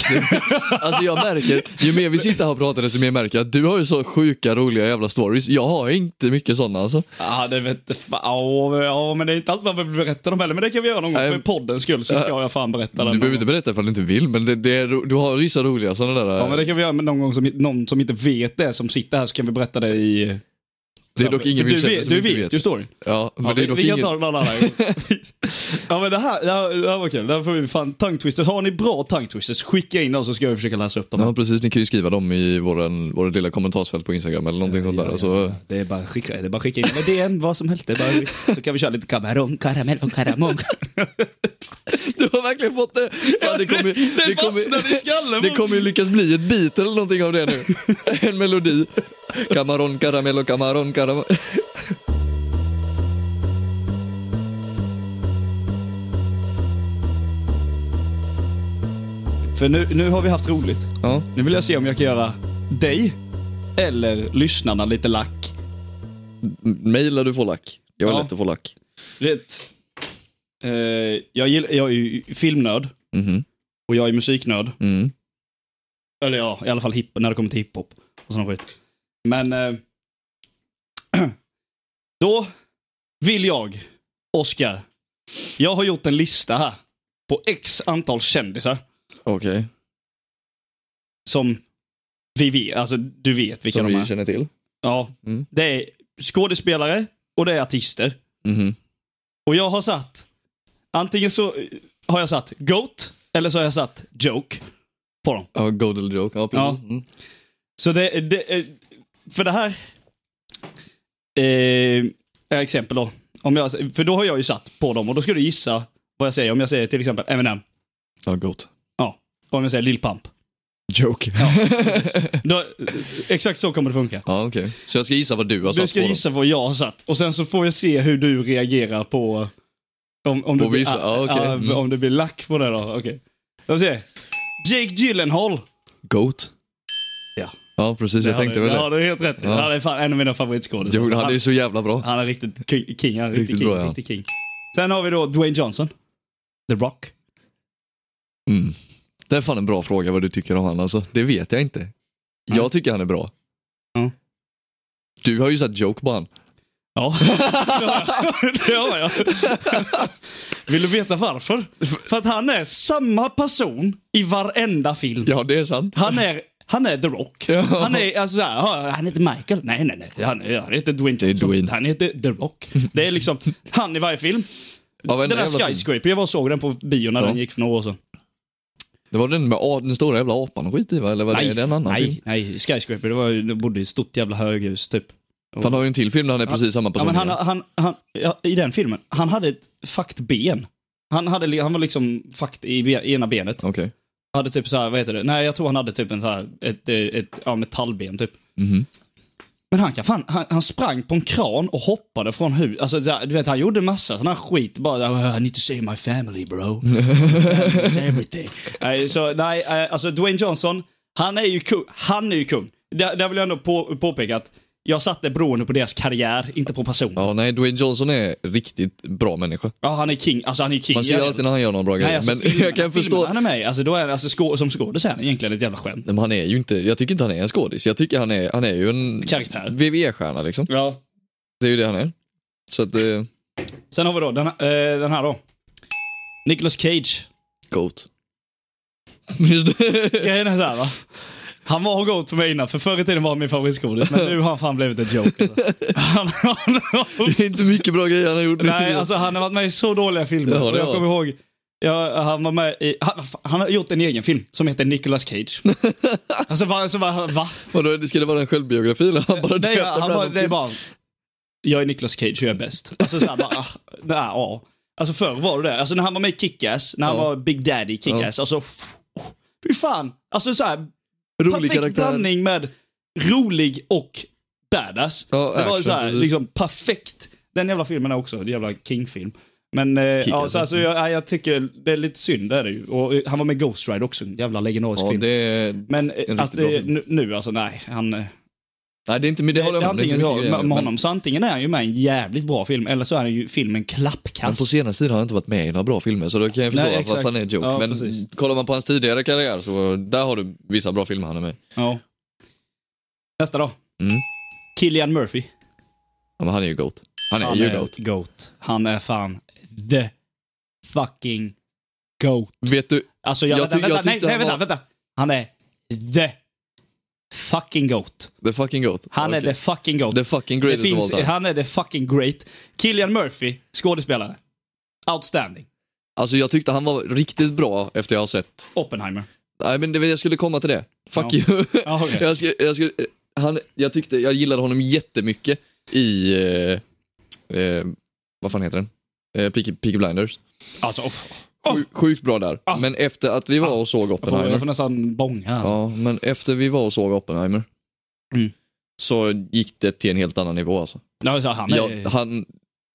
Alltså jag märker, ju mer vi sitter här och pratar desto mer märker jag att du har ju så sjuka roliga jävla stories. Jag har inte mycket sådana alltså.
Ja, det vet fan. Ja, ja, men det är inte allt man vill berätta dem heller. Men det kan vi göra någon gång.
Nej.
För poddens skull så ska jag fan berätta den.
Du behöver inte berätta ifall du inte vill, men det, det är, ro- du har vissa roliga sådana där.
Ja, men det kan vi göra med någon gång som någon som inte vet det, som sitter här, så kan vi berätta det i...
det är dock ingen
För
vi
du
känner
vet,
som
du
inte
vet, ju storyn.
Ja, men
Ja,
det
vi,
är dock
vi kan
ingen...
ta den
[LAUGHS]
annan gång. ja, men det här, det, här, det här var kul. Det här får vi fan tongue twisters. Har ni bra tongue twisters, skicka in dem så ska jag försöka läsa upp dem.
Ja, precis. Ni kan ju skriva dem i våran, våra lilla kommentarsfält på Instagram eller någonting sånt där. Alltså,
Det är bara skicka, det är bara skicka in med DM, vad som helst. Det är bara, så kan vi köra lite kameron, karamell och karamong.
[LAUGHS] du har verkligen fått det. Fan, det kommer, det
fastnade i skallen.
Det kommer ju lyckas bli ett beat eller någonting av det nu. En melodi. Camaron, caramello, camaron, caramello.
För nu, nu har vi haft roligt.
Ja.
Nu vill jag se om jag kan göra dig eller lyssnarna lite lack.
Mejla du får lack. Jag är
Ja.
lätt att få lack.
Rätt. Eh, jag, gill, jag är ju filmnörd
Mhm.
och jag är musiknörd.
Mm.
Eller ja, i alla fall hip, när det kommer till hiphop och sån skit. Men... Eh, [CLEARS THROAT] då vill jag, Oscar, jag har gjort en lista här på x antal kändisar
Okej.
som vi vet, alltså du vet vilka
Som
de
vi
är.
känner till.
Ja,
Mm.
det är skådespelare och det är artister.
Mhm.
Och jag har satt, antingen så eh, har jag satt GOAT eller så har jag satt Joke på dem.
Ja, Godel Joke. Ja, precis.
Ja.
Mm.
Så det, det eh, för det här eh, är exempel då. Om jag, för då har jag ju satt på dem och då ska du gissa vad jag säger. Om jag säger till exempel Eminem.
Ja, gott.
Ja. Och om jag säger Lil Pump.
Joke. Ja, [LAUGHS]
Då, eh, exakt så kommer det funka.
okej. Så jag ska gissa vad du har
Du
satt
ska
på
gissa vad jag har satt och sen så får jag se hur du reagerar på... Om, om,
På
du, blir,
vissa, ja, okej.
ah,
Mm.
om du blir lack på det då. Okej. Då ska vi se. Jake Gyllenhaal.
dem. Goat.
Ja.
Ja, precis. Jag
Det har
tänkte
du,
väl
Ja,
det.
du har helt rätt.
Ja.
Han är fan en av mina favoritskådisar.
Jo, han är ju så jävla bra.
Han är riktigt ki- king. Han är riktigt,
Riktigt
king,
bra, ja.
riktigt king. Sen har vi då Dwayne Johnson. The Rock?
Mm. Det är fan en bra fråga vad du tycker om han alltså. Det vet jag inte.
Nej.
Jag tycker han är bra.
Ja.
Du har ju sett joke på han. [LAUGHS]
Ja, det har jag. Vill du veta varför? För att han är samma person i varenda film.
Ja, det är sant.
Han är, han är The Rock. Han är alltså så här, "Ja, han heter Michael. Nej, nej, nej. Han, han heter Dwayne
är
Johnson.
Dwayne.
Han heter The Rock. Det är liksom han i varje film.
Ja,
Den
varenda
där
jävla film.
Skyscraper, jag var och såg den på bio när
Ja.
den gick för några år sedan.
Det var den med a- den stora jävla apan och skit i va? Eller var det är det en annan film?
nej, nej. Skyscraper, det var ju, de bodde i ett stort jävla höghus typ.
För Han har ju en till film där han är precis samma
Ja,
person.
men han,
igen.
han, han, ja, I den filmen, han hade ett fakt ben. Han, hade, li- han var liksom fakt i, be- i ena benet.
Okej.
Hade typ så här, vad heter det? Nej, jag tror han hade typ en så här, ett, eh, ett ja, metallben typ.
Mhm.
Men han kan fan, han, han sprang på en kran och hoppade från hus. Alltså så här, du vet, han gjorde massa sån här skit. Bara, "Oh, I need to save my family
[LAUGHS]
bro. Family is everything. nej, så nej, eh, alltså Dwayne Johnson, han är ju kung. Han är ju kung. Där, där vill jag ändå på, påpeka att jag satte beroende på deras karriär, inte på person.
Ja, nej, Dwayne Johnson är riktigt bra människa.
Ja, han är king. Alltså han är king.
Man ser ju
Jag-
alltid när han gör någon bra
Nej,
grej.
alltså,
Men [LAUGHS]
filmerna,
jag kan förstå.
filmerna Han är med i, alltså, då är, alltså, skå, som skådis är han egentligen ett jävla skämt.
Nej, Men han är ju inte, jag tycker inte han är en skådis. Jag tycker han är, han är ju en
Karaktär.
VV-stjärna liksom.
Ja.
Det är ju det han är. Så att, eh,
Sen har vi då den, här- eh, den här då. Nicolas Cage.
[LAUGHS] goat.
Grejen är såhär va. Han var god för mig innan, för förr i tiden var han min favoritskådis, men nu har han fan blivit ett joke. Alltså. Han, han, han,
det är inte mycket bra grejer han har gjort.
nej, alltså han har varit med i så dåliga filmer.
Ja, det
och jag
har
kommer ihåg, ja, han var med i, han, han har gjort en egen film som heter Nicolas
[LAUGHS]
Cage. alltså va? Alltså, va, va?
Vadå, ska det vara en självbiografi eller han bara
Nej,
döpte
han
fram
bara,
en
det är
film?
bara, jag är Nicolas Cage och jag är bäst. Alltså såhär bara, ah, [LAUGHS] nej, ja. Alltså förr var det det. Alltså när han var med i Kick-Ass, när han
Ja.
var Big Daddy i Kick-Ass, alltså f- oh, fy fan. Alltså såhär,
Rolig
perfekt
karaktär.
blandning med rolig och badass.
Ja,
det var
action,
såhär,
precis.
liksom perfekt. Den jävla filmen är också en jävla King-film. Men eh, ja,
Kick-Ass, mm.
så alltså, jag, ja, jag tycker det är lite synd det är det ju. Och eh, han var med i Ghost Rider också, en jävla legendarisk
Ja,
film.
det är...
Men eh,
riktigt
alltså,
bra film.
nu, nu alltså, nej. Han, eh,
Nej, det är inte, men det
det, det,
håller
är
jag med om. Det är
antingen
inte
jag med,
mycket grejer,
med
men-
honom, så antingen är han ju med i en jävligt bra film, eller så är han ju filmen
Men på
klappkast.
senaste tiden har han inte varit med i några bra filmer så då kan jag förstå
Alltså- Nej,
varför
exakt.
han är en joke.
Ja,
men
precis.
kollar man på hans tidigare karriär så där har du vissa bra filmer han är med i.
Ja. Nästa då.
Mm.
Killian Murphy.
Ja, men han är ju GOAT. Han är ju GOAT.
goat. Han är fan the fucking goat.
Vet du,
Alltså jag,
Jag
vänta,
ty- jag
vänta, nej,
tyckte
nej,
han
vänta,
var-
vänta. Han är the fucking goat.
the fucking GOAT.
Han är
Okej.
the fucking goat.
the fucking
Det
greatest
finns,
of all time.
han är the fucking great. Killian Murphy, skådespelare. Outstanding.
Alltså jag tyckte han var riktigt bra efter jag har sett.
Oppenheimer.
Nej men det, jag skulle komma till det. Fuck
Ja.
you.
Ja, okej.
[LAUGHS] jag, skulle, jag, skulle, han, jag tyckte, jag gillade honom jättemycket i, eh, eh, vad fan heter den? Eh, Peaky, Peaky Blinders.
Alltså, oh,
Sju- Sjukt bra där.
Ah.
Men efter att vi var och såg
jag, får, jag
Oppenheimer.
får nästan bånga. Alltså.
Ja, men efter vi var och såg Oppenheimer.
Mm.
Så gick det till en helt annan nivå alltså.
Ja, så han är...
Jag, han,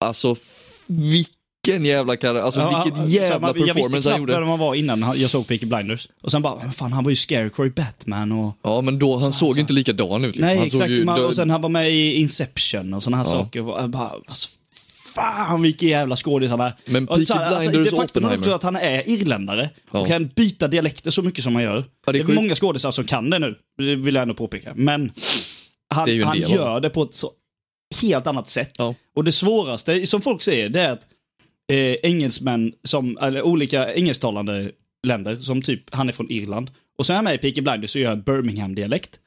alltså f- vilken jävla karriär, alltså
Ja,
vilket
han- så här,
jävla
man- Jag visste
performance han
knappt
gjorde.
vem han var innan han- jag såg Peaky Blinders. Och sen bara, fan han var ju Scarecrow i Batman och...
Ja men då, han såg
så-
ju inte likadan ut. liksom.
Alltså. Nej
Typ, han
exakt,
såg ju,
man,
då-
och sen han var med i Inception och sådana här saker. Och jag bara, alltså, fan vilken jävla skådis han är.
Men
Och så
Peaky
att-
Blinders
Det
och
faktum är också
Oppenheimer.
att han är irländare och
Ja.
kan byta dialekter så mycket som han gör. det
Ja, det
är
är sjukt.
många skådisar som kan det nu, det vill jag ändå påpeka. Men han,
Det är ju en
han
del av det.
gör det på ett så helt annat sätt.
Ja.
Och det svåraste, som folk säger, det är att eh, engelsmän, som, eller olika engelsktalande länder, som typ, han är från Irland. Och så är han med i Peaky Blinders och gör en Birmingham-dialekt.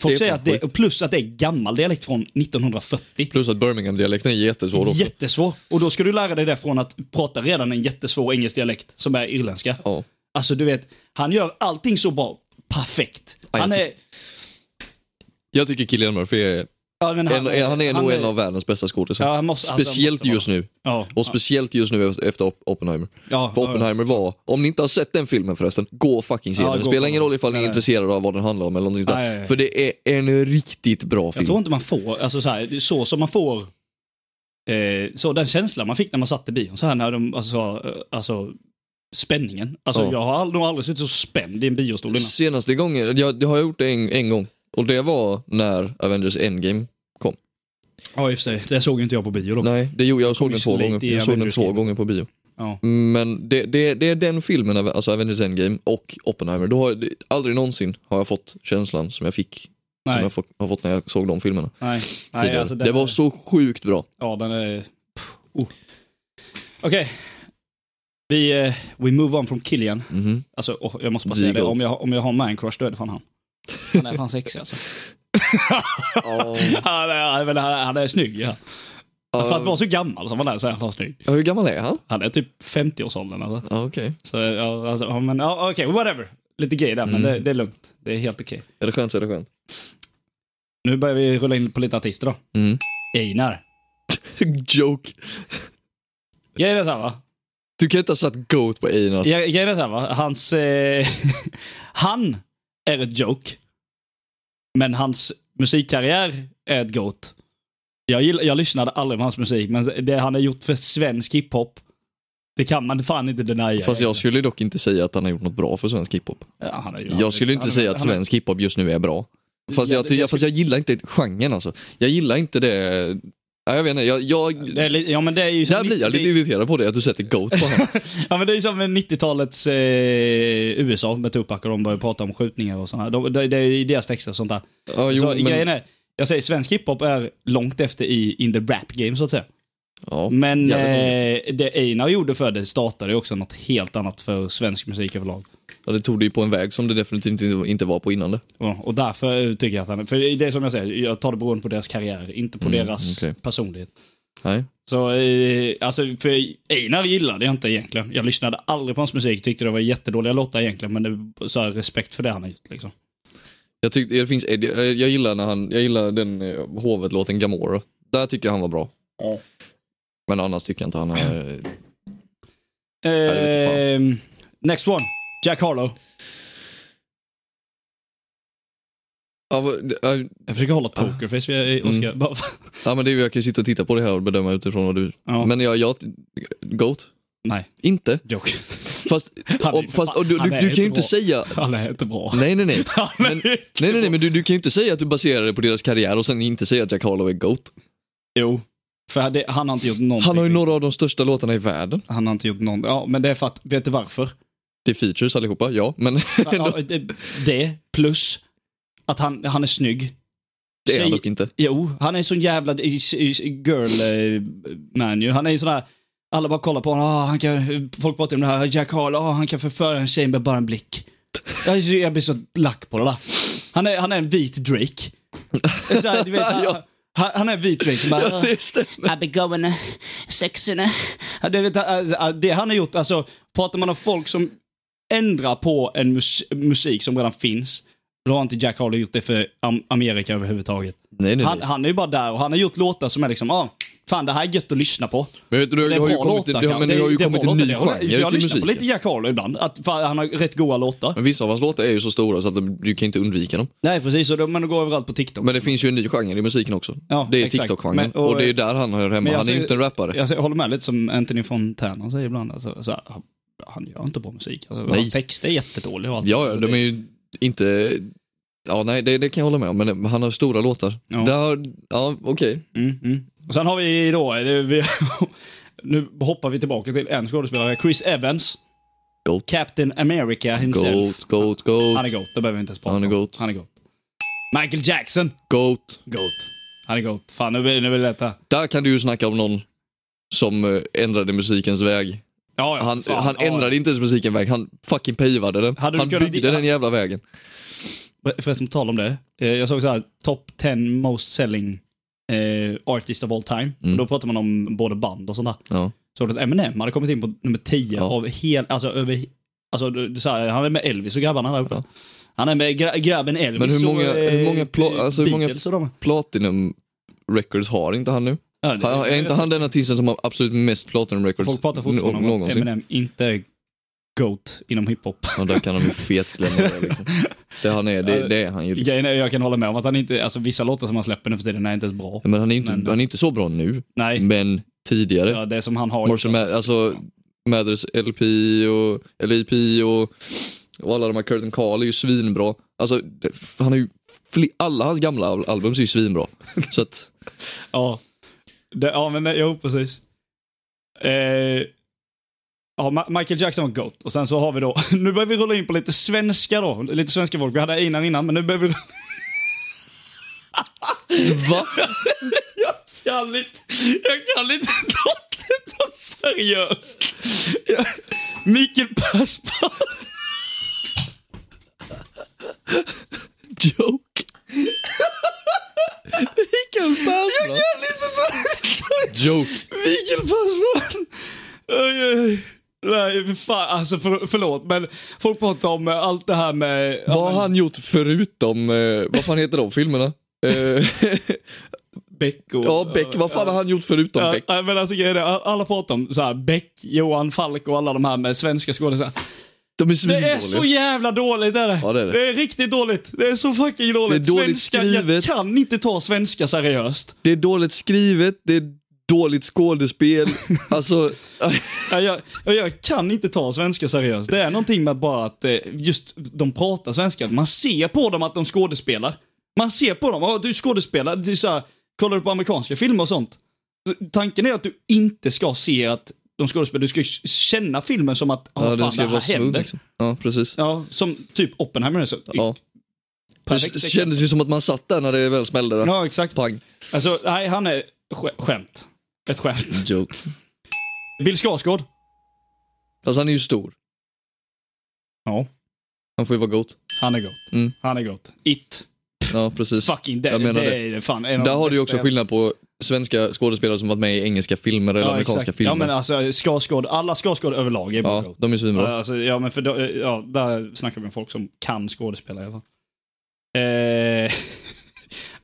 Folk
Det är
säger
fan
att det, plus att det är gammal dialekt från 1940.
Plus att Birmingham-dialekten är jättesvår också.
Jättesvår. Och då ska du lära dig det från att prata redan en jättesvår engelsk dialekt som är irländska.
Ja.
Alltså du vet, han gör allting så bra. Perfekt.
Ja, jag
Han är...
Jag tycker Killian Murphy är,
Ja, men
en, han är nog en av världens bästa skådisar.
Ja, han måste- alltså, han
speciellt
måste vara.
just nu.
Ja.
Och speciellt just nu efter Op- Oppenheimer.
Ja,
För Oppenheimer var, om ni inte har sett den filmen förresten, gå och fucking se
Ja,
den.
gå
Det
och kolla
spelar ingen roll
den.
ifall ni
Nej,
är
nej.
intresserade av vad den handlar om eller någonting sånt
Nej, nej,
där.
nej.
För det är en riktigt bra
Jag tror
film.
inte man får, alltså så, här, så som man får, eh, så den känslan man fick när man satt i bion, så här när de, alltså, eh, alltså spänningen. Alltså
Ja.
jag har ald- nog aldrig suttit så spänd i en biostol innan.
Senaste gången, jag, jag har gjort det en, en gång. Och det var när Avengers Endgame kom.
Ja i och för sig, det såg ju inte jag på bio då.
Nej, det gjorde jag. Jag såg
ju
den
så
två
late
gånger,
i
jag såg den
Avengers
två
Game.
gånger på bio.
Ja.
Men det, det, det är den filmen, av- alltså Avengers Endgame och Oppenheimer. Då har jag, det- aldrig någonsin har jag fått känslan som jag fick, som
Nej.
jag fått, har fått när jag såg de filmerna
Nej, nej
tidigare.
alltså den,
det var så sjukt bra.
Ja, den är... Pff, Oh. Okej. Vi, eh, we move on from Killian.
Mhm.
Alltså, åh, jag måste bara säga det.
Ziegler.
Om jag, om jag har man crush, då är det fan han. Han är fan sexig alltså. [LAUGHS]
[LAUGHS]
han, är, men han, är- han är snygg, ja. För att vara så gammal som han är så är han fan snygg.
Ja, hur gammal är han?
Han är typ 50-årsåldern alltså.
Ja, okej.
Så ja, alltså, ja, men ja, okej, whatever. Lite gay där, men
Mm.
det, det är lugnt. Det är helt okej.
Är det skönt så är det skönt.
Nu börjar vi rulla in på lite artister då.
Mm.
Einar.
[LAUGHS] Joke.
Grejen är så här va?
Du kan inte ha satt GOAT på Einar.
Gre- Grejen är så här va? Hans... Eh, [LAUGHS] han är ett joke. Men hans musikkarriär är ett goat. Jag, gill, jag lyssnade aldrig på hans musik, men det han har gjort för svensk hiphop, det kan man fan inte denia.
Fast jag skulle dock inte säga att han har gjort något bra för svensk hiphop.
Ja, han har ju-
Jag skulle inte
han-
säga att
han-
svensk hiphop just nu är bra. Fast
Ja,
jag,
det-
ty-
jag
fast jag gillar inte genren alltså. Jag gillar inte det... Ja, jag vet inte, jag... jag...
Det är, li- ja, men det är ju som
Där blir jag
90
lite irriterad på det, att du sätter GOAT på honom.
Ja men det är som 90-talets eh, USA med Tupac och de börjar prata om skjutningar och sådana. De, det, det är i deras texter och sånt där.
Ja, jo,
så
men-
grejen är, jag säger svensk hiphop är långt efter i in the rap game så att säga.
Ja,
Men
jävligt
eh, det Einar gjorde för det startade ju också något helt annat för svensk musik överlag.
Ja, det tog dig på en väg som det definitivt inte- inte var på innan det.
Ja, Och därför tycker jag att han, för det är som jag säger, jag tar det beroende på deras karriär, inte på
Mm,
deras
okej.
personlighet.
Nej.
Så, eh, alltså, för Einar gillade jag inte egentligen. Jag lyssnade aldrig på hans musik, tyckte det var jättedåliga låtar egentligen, men det, så här, respekt för det han har gjort liksom.
Jag, tyckte, det finns, jag, jag gillar när han, jag gillar den eh, hovet-låten Gamora. Där tycker jag han var bra.
Ja.
Men annars tycker jag inte han är... det vete
Eh, next one, Jack Harlow.
[CLEARS THROAT] Ja, vad- ja,
Jag försöker hålla pokerface, vi
Mm.
är- Oscar. Bara- [LAUGHS]
ja, men det, är ju- jag kan ju sitta och titta på det här och bedöma utifrån vad du...
Ja.
Men jag, jag... Goat?
Nej,
Inte.
joke.
Fast,
Han är
och,
ju för
fast
fan-
och du, du,
han
du
är
kan ju
inte
inte
bra.
säga...
[LAUGHS] Han är inte bra.
Nej, nej, nej.
[LAUGHS] Han är
Men,
inte
nej, nej, nej,
bra.
men du, du kan ju inte säga att du baserar det på deras karriär och sen inte säga att Jack Harlow är GOAT.
Jo, för det, han har inte gjort någonting.
Han har ju några av de största låtarna i världen.
Han har inte gjort någonting. Ja, men det är för att, vet du
[LAUGHS]
varför?
Det är features allihopa, ja, men... [LAUGHS]
Ja, det, det plus att han, han är snygg.
Det är han
Säg-
dock inte.
Jo, han är sån jävla i- i- i- girl eh, man ju. Han är ju sån här, alla bara kollar på honom, Ah, han kan, folk pratar om det här, Jack Harlow, ah, han kan förföra en tjej med bara en blick. Jag, är så- jag blir så lack på det där. Han är, han är en vit Drake. Så här, du vet, han,
Ja.
han, han är en vit Drake som bara,
[LAUGHS]
"Ah, I be going uh, sexing. uh." Ja, Det, vet, alltså, ah, det han har gjort, alltså pratar man om folk som ändrar på en mus- musik som redan finns, då har inte Jack Harlow gjort det för Am- Amerika överhuvudtaget.
Nej, nej,
Han,
nej.
han är ju bara där och han har gjort låtar som är liksom, ah, fan det här är gött att lyssna på.
Men vet du, det
Det är
har ju
bra
kommit,
låtar
det, har- men det har ju
är
kommit
bra
en ny
låtar. Jag-
genre
Jag
till
lyssnar på
musiken.
lite Jack Harlow ibland, att fan, han har rätt goa låtar.
Men vissa av hans låtar är ju så stora så att de- du kan inte undvika dem.
Nej precis, och de, men de går överallt på TikTok.
Men det finns ju en ny genre i musiken också.
Ja,
det är
exakt.
TikTok-genren.
Men-
Och,
och-
det är ju där han hör hemma.
Men alltså, jag
Han är ju
ser-
inte en rappare.
Jag håller med lite som Anthony Fontana säger ibland, alltså, så här, han- han gör inte bra musik. Alltså,
Nej.
hans texter är jättedåliga och allt.
Ja, ja,
Alltså,
de
det-
är ju inte... Ja, nej, det, det kan jag hålla med om. Men han har stora låtar.
Ja.
Där, ja, okej.
Mm, mm. Och sen har vi då, det- vi, [LAUGHS] nu hoppar vi tillbaka till en skådespelare, Chris Evans.
Goat.
Captain America himself.
Goat, goat,
Han är
goat,
GOAT, det behöver vi inte ens prata
Han är
om.
goat.
Han är GOAT. Michael Jackson.
goat.
GOAT. Han är GOAT. Fan, nu blir nu blir det lätta.
Där kan du ju snacka om någon som eh, ändrade musikens väg.
Ja, ja,
Han,
fan,
han
ja.
ändrade inte ens musikens väg, han fucking pavade den.
Hade du
Han
kunnat-
byggde den jävla vägen.
Förresten, på tal om det. eh, Jag såg så här, top 10 most selling eh, artist of all time.
Mm.
Och då pratar man om både band och sånt där.
Ja.
Såg du att Eminem hade kommit in på nummer 10
Ja.
av hel, alltså över, alltså du- du- så här, han är med Elvis och grabbarna där uppe.
Ja.
Han är med gra- grabben Elvis
Men hur många-
och
hur många pla-
eh,
alltså hur många-
Beatles och de.
Platinum Records har inte han nu.
Ja, det-
Han, är inte han den artisten som har absolut mest Platinum Records
Folk pratar fortfarande
nå-
om att
någonsin?
Eminem inte är GOAT inom hiphop.
Ja, där kan han ju fetglömma det. Liksom. Det, han är, det, det är han ju. Liksom.
Grejen är, jag kan hålla med om att han inte, alltså vissa låtar som han släpper nu för tiden är inte ens bra.
Ja, Men han är, inte,
Men-
han är inte så bra nu,
Nej,
men tidigare.
ja, det som han har. liksom.
Marshall Ma- alltså Mathers LP och LIP och, och alla de här Curtin Carl är ju svinbra. Alltså, det- han har ju fli- alla hans gamla al- albums är ju svinbra. Så att,
Ja. Det, ja, men nej, jo, precis. Eh, Ja, Ma- Michael Jackson var GOAT. Och sen så har vi då, [LAUGHS] nu börjar vi rulla in på lite svenska då. Lite svenska folk. Vi hade Einar innan, men nu börjar vi...
Va?
Jag kan inte, jag kan inte ta detta seriöst. Jag, Mikael Persbrandt.
Joke?
Mikael Persbrandt? Jag kan inte ta detta
Joke?
Mikael Persbrandt! Oj, oj, oj. Nej, för fan. Alltså, för, förlåt, men folk pratar om eh, allt det här med...
Vad har han gjort förutom, eh, vad fan heter de filmerna? Eh, [LAUGHS]
Beck och...
ja, Beck. Vad fan har han gjort förutom Beck?
Ja, men alltså, grejen är, alla pratar om så här, Beck, Johan Falk och alla de här med svenska skådisar.
De är
Det är så
svindåliga.
jävla dåligt är det.
Ja, det är det.
är riktigt dåligt. Det är så fucking dåligt.
Det är dåligt
svenska,
skrivet.
Jag kan inte ta svenska seriöst.
Det är dåligt skrivet, det är dåligt [LAUGHS] skådespel. Alltså,
Ja, Jag, jag, jag kan inte ta svenska seriöst. Det är någonting med bara att eh, just de pratar svenska. Man ser på dem att de skådespelar. Man ser på dem, ja du skådespelar. Det är så här, kollar du på amerikanska filmer och sånt? Tanken är att du inte ska se att de skådespelar. Du ska ju känna filmen som [LAUGHS] att,
ja,
ja,
den
fan
ska
det här
vara smooth.
händer.
Liksom. Ja, precis.
Ja, som typ Oppenheimer. Så.
Ja. Det
Perfekt
s-
exempel.
kändes ju som att man satt där när det väl smällde. Då.
Ja, exakt.
Pang.
Alltså, nej, han är sk- skämt. Ett skämt.
Joke.
Bill Skarsgård.
Fast han är ju stor.
Ja.
Han får ju vara gott.
Han är gott.
Mm.
Han är gott. It.
Ja, precis.
Fucking det,
Jag menar
det,
det.
är fan en av
Där
de
har du ju
bästa
också
jag-
skillnad på svenska skådespelare som varit med i engelska filmer eller
Ja,
amerikanska
exakt.
filmer.
Ja, men alltså Skarsgård, alla Skarsgård överlag är bara
Ja,
gott.
de är svinbra.
Ja, alltså, ja, men för då, ja, där snackar vi om folk som kan skådespela i alla fall. Eh, [LAUGHS]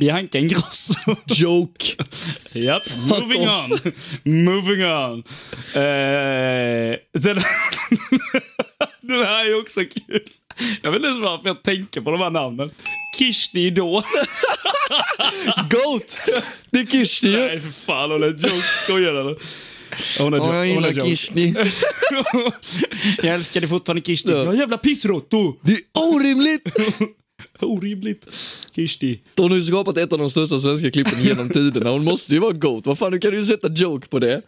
Bianca Ingrosso.
Joke!
[LAUGHS] Japp, moving on. Moving on. Eh, sen, [LAUGHS] den här är också kul. Jag vet inte ens varför jag tänker på de här namnen. Kishti då.
Goat! Det är Kishti ju.
Nej, för fan. Hon är joke. Skojar du? Hon är
Ja, jag
hon är
gillar
joke.
Kishti.
[LAUGHS] jag älskade fortfarande Kishti.
Ja.
Ja, jävla pissråttor!
Det är orimligt!
Orimligt. Kishti.
Hon har ju skapat ett av de största svenska klippen genom tiderna. Hon måste ju vara goat. Vad fan, du kan ju sätta joke på det.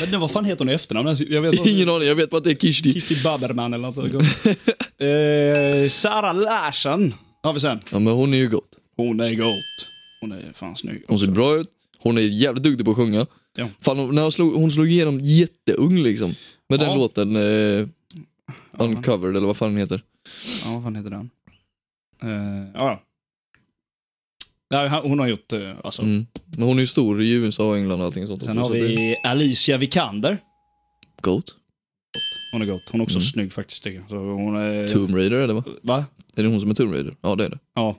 Men nu, vad fan heter hon i efternamn? Jag vet inte.
Ingen aning, jag vet bara att det är Kishti.
Kishti Baberman eller något sånt. [LAUGHS] eh, Sara Larsson har vi sen.
Ja, men hon är ju goat.
Hon är goat. Hon är fan snygg. Oh,
Hon ser bra ut. Hon är jävligt duktig på att sjunga.
Ja.
Fan, hon, när hon, slog, hon slog igenom jätteung liksom. Med
Ja.
den låten eh, Uncovered eller vad fan den heter.
Ja, vad fan heter den? Uh, ja. ja. han- Hon har gjort, eh, alltså.
Mm. Men hon är ju stor i USA och England och allting sånt.
Sen har
Så det är
vi Alicia Vikander.
Goat.
Hon är gott. Hon är också
Mm.
snygg faktiskt. tycker jag. Så hon är...
Tomb Raider är det va?
Va?
Är det hon som är Tomb Raider? Ja det är det.
Ja.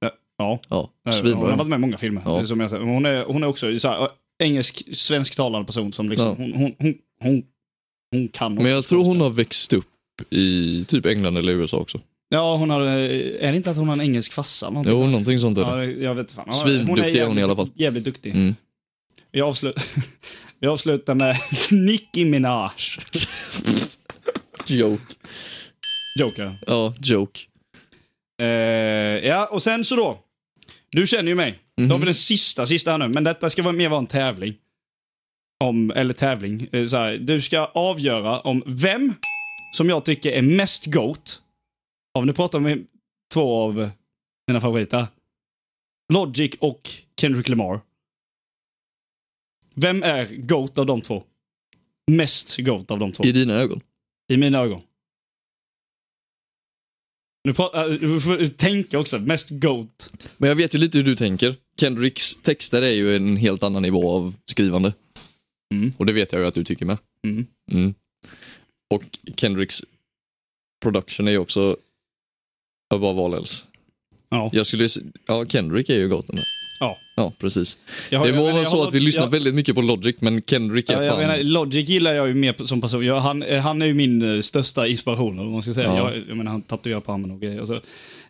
Ja. ja.
Ja,
Hon har
svinbra.
varit med i många filmer.
Ja.
Som jag säger. hon, är, hon är också så här, eh, engelsk, svensktalande person som liksom,
Ja.
hon, hon, hon, hon, hon kan också
Men jag tror hon har växt upp i typ England eller USA också.
Ja, hon har, eh, är det inte att hon har en engelsk farsa? eller någonting
Jo,
sånt?
någonting sånt är
Ja,
det.
det- jag vet fan. Ja,
Svinduktig är hon i
jävligt-
alla fall.
Jävligt duktig.
Mm.
Vi, avslu- [LAUGHS] vi avslutar med [LAUGHS] Nicki Minaj.
Joke.
Joker.
Ja, joke.
Eh, ja, och sen så då. Du känner ju mig. Då har vi den sista, sista här nu. Men detta ska vara mer vara en tävling. Om, eller tävling. Eh, Så här, du ska avgöra om vem som jag tycker är mest GOAT. Om du pratar med två av mina favoriter. Logic och Kendrick Lamar. Vem är GOAT av de två? Mest GOAT av de två.
I dina ögon.
I mina ögon. Nu pratar, äh, du får tänka också, mest GOAT.
Men jag vet ju lite hur du tänker. Kendricks texter är ju en helt annan nivå av skrivande.
Mm.
Och det vet jag ju att du tycker med.
Mm.
Mm. Och Kendricks production är ju också above all else.
Ja.
Jag skulle s- ja Kendrick är ju gott med.
Ja.
Ja, precis.
Jag har-
det
jag
må
menar,
vara
jag
så
har-
att vi lyssnar
jag-
väldigt mycket på Logic, men Kendrick är
Ja,
fan...
jag menar, Logic gillar jag ju mer på- som person. Jag, han, eh, han är ju min eh, största inspiration, om man ska säga.
Ja.
Jag, jag menar, han tatuerar på handen och grejer. Alltså,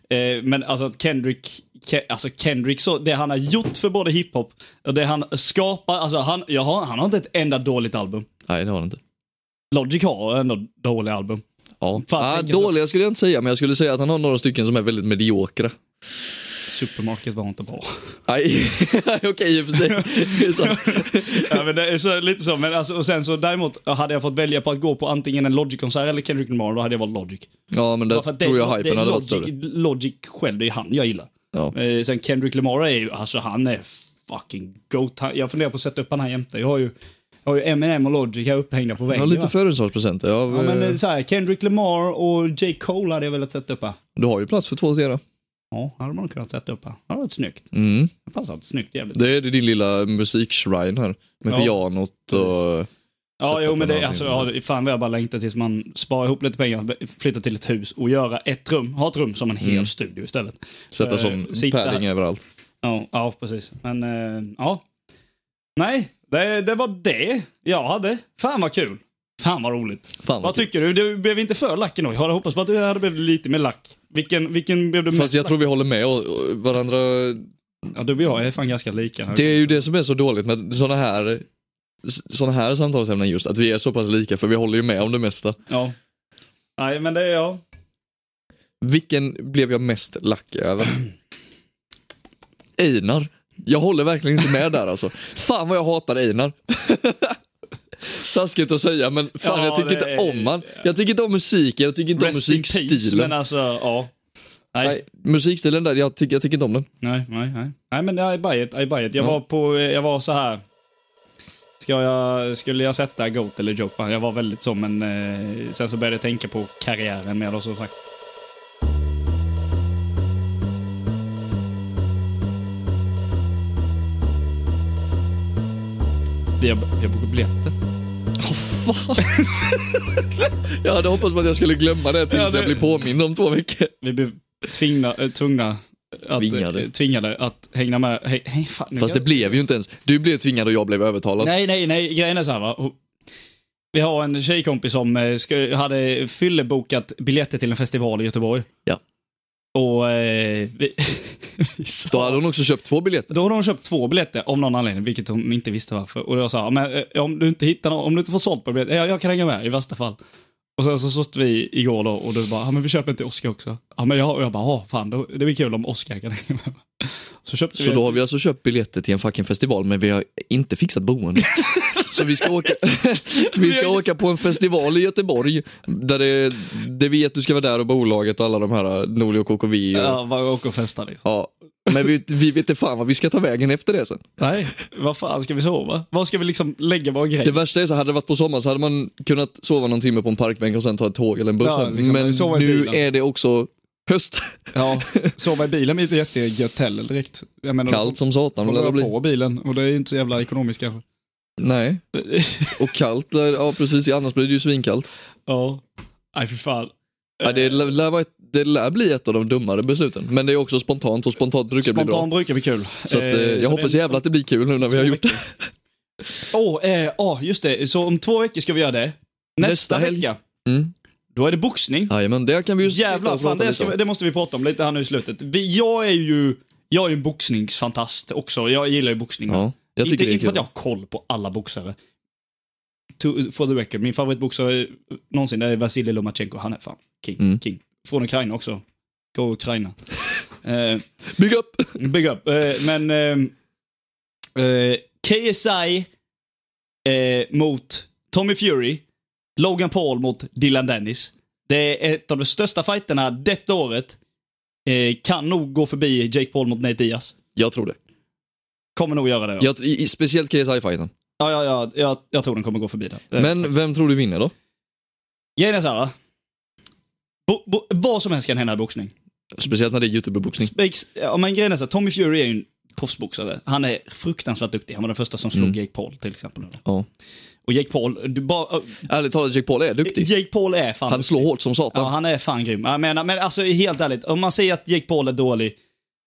eh, men alltså att Kendrick, Ke, alltså Kendrick, så, det han har gjort för både hiphop och det han skapar, alltså han, jag har, han har inte ett enda dåligt album.
Nej, det har han inte.
Logic har ändå dåliga album.
Ja.
Fan,
ah,
tänker jag så.
dåliga skulle jag inte säga, men jag skulle säga att han har några stycken som är väldigt mediokra.
Supermarket var inte bra.
Nej, [LAUGHS] okej i och för sig. Så,
ja, men det är så, lite så. Men alltså, och sen så däremot hade jag fått välja på att gå på antingen en Logic-konsert eller Kendrick Lamar, då hade jag valt Logic.
ja, men det
Bara för att
tror
det-
jag hypen
det,
hade varit
Logic,
större.
Logic själv, det är ju han jag gillar.
Ja.
Eh, sen Kendrick Lamar är ju, alltså han är fucking goat. Han, jag funderar på att sätta upp han här jämte. Jag har ju, jag har ju Eminem och Logic här upphängda på
Jag har
väggen.
lite
va?
födelsedagspresenter. Jag,
Ja, men eh,
eh,
så här, Kendrick Lamar och J. Cole hade jag velat sätta upp här.
Du har ju plats för två serier.
Ja, hade man kunnat sätta upp här. Det hade varit snyggt.
Mm.
Det passade snyggt jävligt.
Det är din lilla musikshrine här. Med
Ja,
pianot och...
Ja,
sätta
jo,
upp
men
en
det,
annan
alltså,
ting.
ja, det- fan vad jag bara längtar tills man sparar ihop lite pengar, flyttar till ett hus och göra ett rum, ha ett rum som en hel
Mm.
studio istället.
Sätta
eh,
som
sitta här.
padding överallt.
Ja, ja precis. Men, eh, ja. Nej, det, det var det jag hade. Fan vad kul. Fan vad roligt.
Fan
Vad
vad
tycker du? Du blev inte för lack ändå. Jag hade hoppats på att du hade blivit lite mer lack. Vilken, vilken blev du
Fast
mest
jag
lack?
tror vi håller med och- och varandra.
Ja, du och jag är fan ganska lika. Här.
Det är ju det som är så dåligt med sådana här sådana här samtalsämnen just, att vi är så pass lika för vi håller ju med om det mesta.
Ja. Nej, men det är jag.
Vilken blev jag mest lack över? Einar. Jag håller verkligen inte med där alltså. Fan vad jag hatar Einar. [LAUGHS] Taskigt att säga men fan
Ja,
jag tycker
det
inte
är-
om han. Jag tycker inte om musiken, jag tycker inte om
Rest in peace,
musikstilen.
men alltså, ja. Nej,
Nej, musikstilen där, jag tycker, jag tycker inte om den.
Nej, nej, nej. Nej, men I buy it, I buy it. Jag var på, eh, jag var så här. Ska jag, skulle jag sätta Goat eller Joke på han? Jag var väldigt så, men eh, sen så började jag tänka på karriären mer då som sagt. Vi har, vi har bokat biljetter.
[LAUGHS] Jag hade hoppats på att jag skulle glömma det tills
Ja, det-
jag blir påmind om två veckor.
[LAUGHS] Vi blev tvingna, eh, tvungna att,
Tvingade.
eh, tvingade att hänga med. Hej, hej, fan, nu
Fast det
kan-
blev ju inte ens. Du blev tvingad och jag blev övertalad.
Nej, nej, nej. Grejen är så här va. Hon- Vi har en tjejkompis som eh, ska, hade fyllebokat biljetter till en festival i Göteborg.
Ja.
Och eh, vi, [LAUGHS] vi sa-
Då hade hon också köpt två biljetter.
då hade hon köpt två biljetter av någon anledning, vilket hon inte visste varför. Och jag sa, "Ja, men eh, om du inte hittar någon, om du inte får sålt på biljetter, jag, jag kan hänga med i värsta fall. Och sen så satt vi igår då och du bara, ja men vi köper inte Oscar också. Ja men jag, och jag bara, ja fan då, det blir kul om Oscar kan hänga med. Så köpte
Så
vi
då har vi alltså köpt biljetter till en fucking festival men vi har inte fixat boende. Så vi ska åka, [LAUGHS] vi ska åka på en festival i Göteborg där det, det vet du ska vara där och bolaget och alla de här eh, Norli och KKV. Och, ja.
Ja, bara åka och festa liksom.
Men vi, vi vet inte fan vad vi ska ta vägen efter det sen.
Nej, vad fan ska vi sova? Var ska vi liksom lägga våra grejer?
Det värsta är så hade det varit på sommaren så hade man kunnat sova någon timme på en parkbänk och sen ta ett tåg eller en buss
Ja,
hem.
liksom,
Men
sova i
nu
bilen.
är det också höst.
Ja, sova i bilen är inte jättegött heller direkt. Jag menar,
Kallt som satan
får
lär det
man
bli.
på bilen och det är inte så jävla ekonomiskt kanske.
Nej. Och kallt, lär- ja precis, annars blir det ju svinkallt.
Ja. Nej, för fan.
Ja, det, lär, lär, vara ett- det lär bli ett av de dummare besluten. Men det är också spontant och spontant brukar det bli
Spontan
bra.
brukar bli kul.
Så att, eh, jag hoppas jävla att det blir kul nu när vi har gjort det.
Åh, eh, oh, just det. Så om två veckor ska vi göra det. Nästa,
Nästa helg.
vecka.
Mm.
Då är det boxning.
Jajamän, det kan vi ju sitta
Jävlar,
och
fan,
prata
det,
lite
ska
om.
vi, det måste vi prata om lite här nu i slutet. Vi, jag är ju jag är ju en boxningsfantast också. Jag gillar ju boxning.
Ja, jag
inte,
tycker det är
inte för att jag
kul.
har koll på alla boxare. To, for the record, min favoritboxare någonsin det är Vasilij Lomachenko. Han är fan king.
Mm.
king. Från Ukraina också. Go Ukraina. [LAUGHS] eh,
Bygg upp!
big up. Eh, men eh, eh, KSI eh, mot Tommy Fury. Logan Paul mot Dylan Dennis. Det är ett av de största fighterna detta året. Eh, kan nog gå förbi Jake Paul mot Nate Diaz.
Jag tror det.
Kommer nog göra det. ja.
Jag, i, i- speciellt KSI-fighten.
Ja, ja, ja jag, jag tror den kommer gå förbi där. Eh,
Men vem tror du vinner då?
Grejen är så här, va? Bo, bo, vad som helst kan hända i boxning.
Mm. Speciellt när det är YouTube-boxning.
Spakes, ja, men grejen är så här, Tommy Fury är ju en proffsboxare. Han är fruktansvärt duktig. Han var den första som
Mm.
slog Jake Paul till exempel.
Ja.
Och Jake Paul, du bara... äh,
Ärligt talat, Jake Paul är duktig.
Jake Paul är fan
Typ. Han slår hårt som
Ja,
satan.
han är fan grym. Jag menar, men alltså helt ärligt, om man säger att Jake Paul är dålig,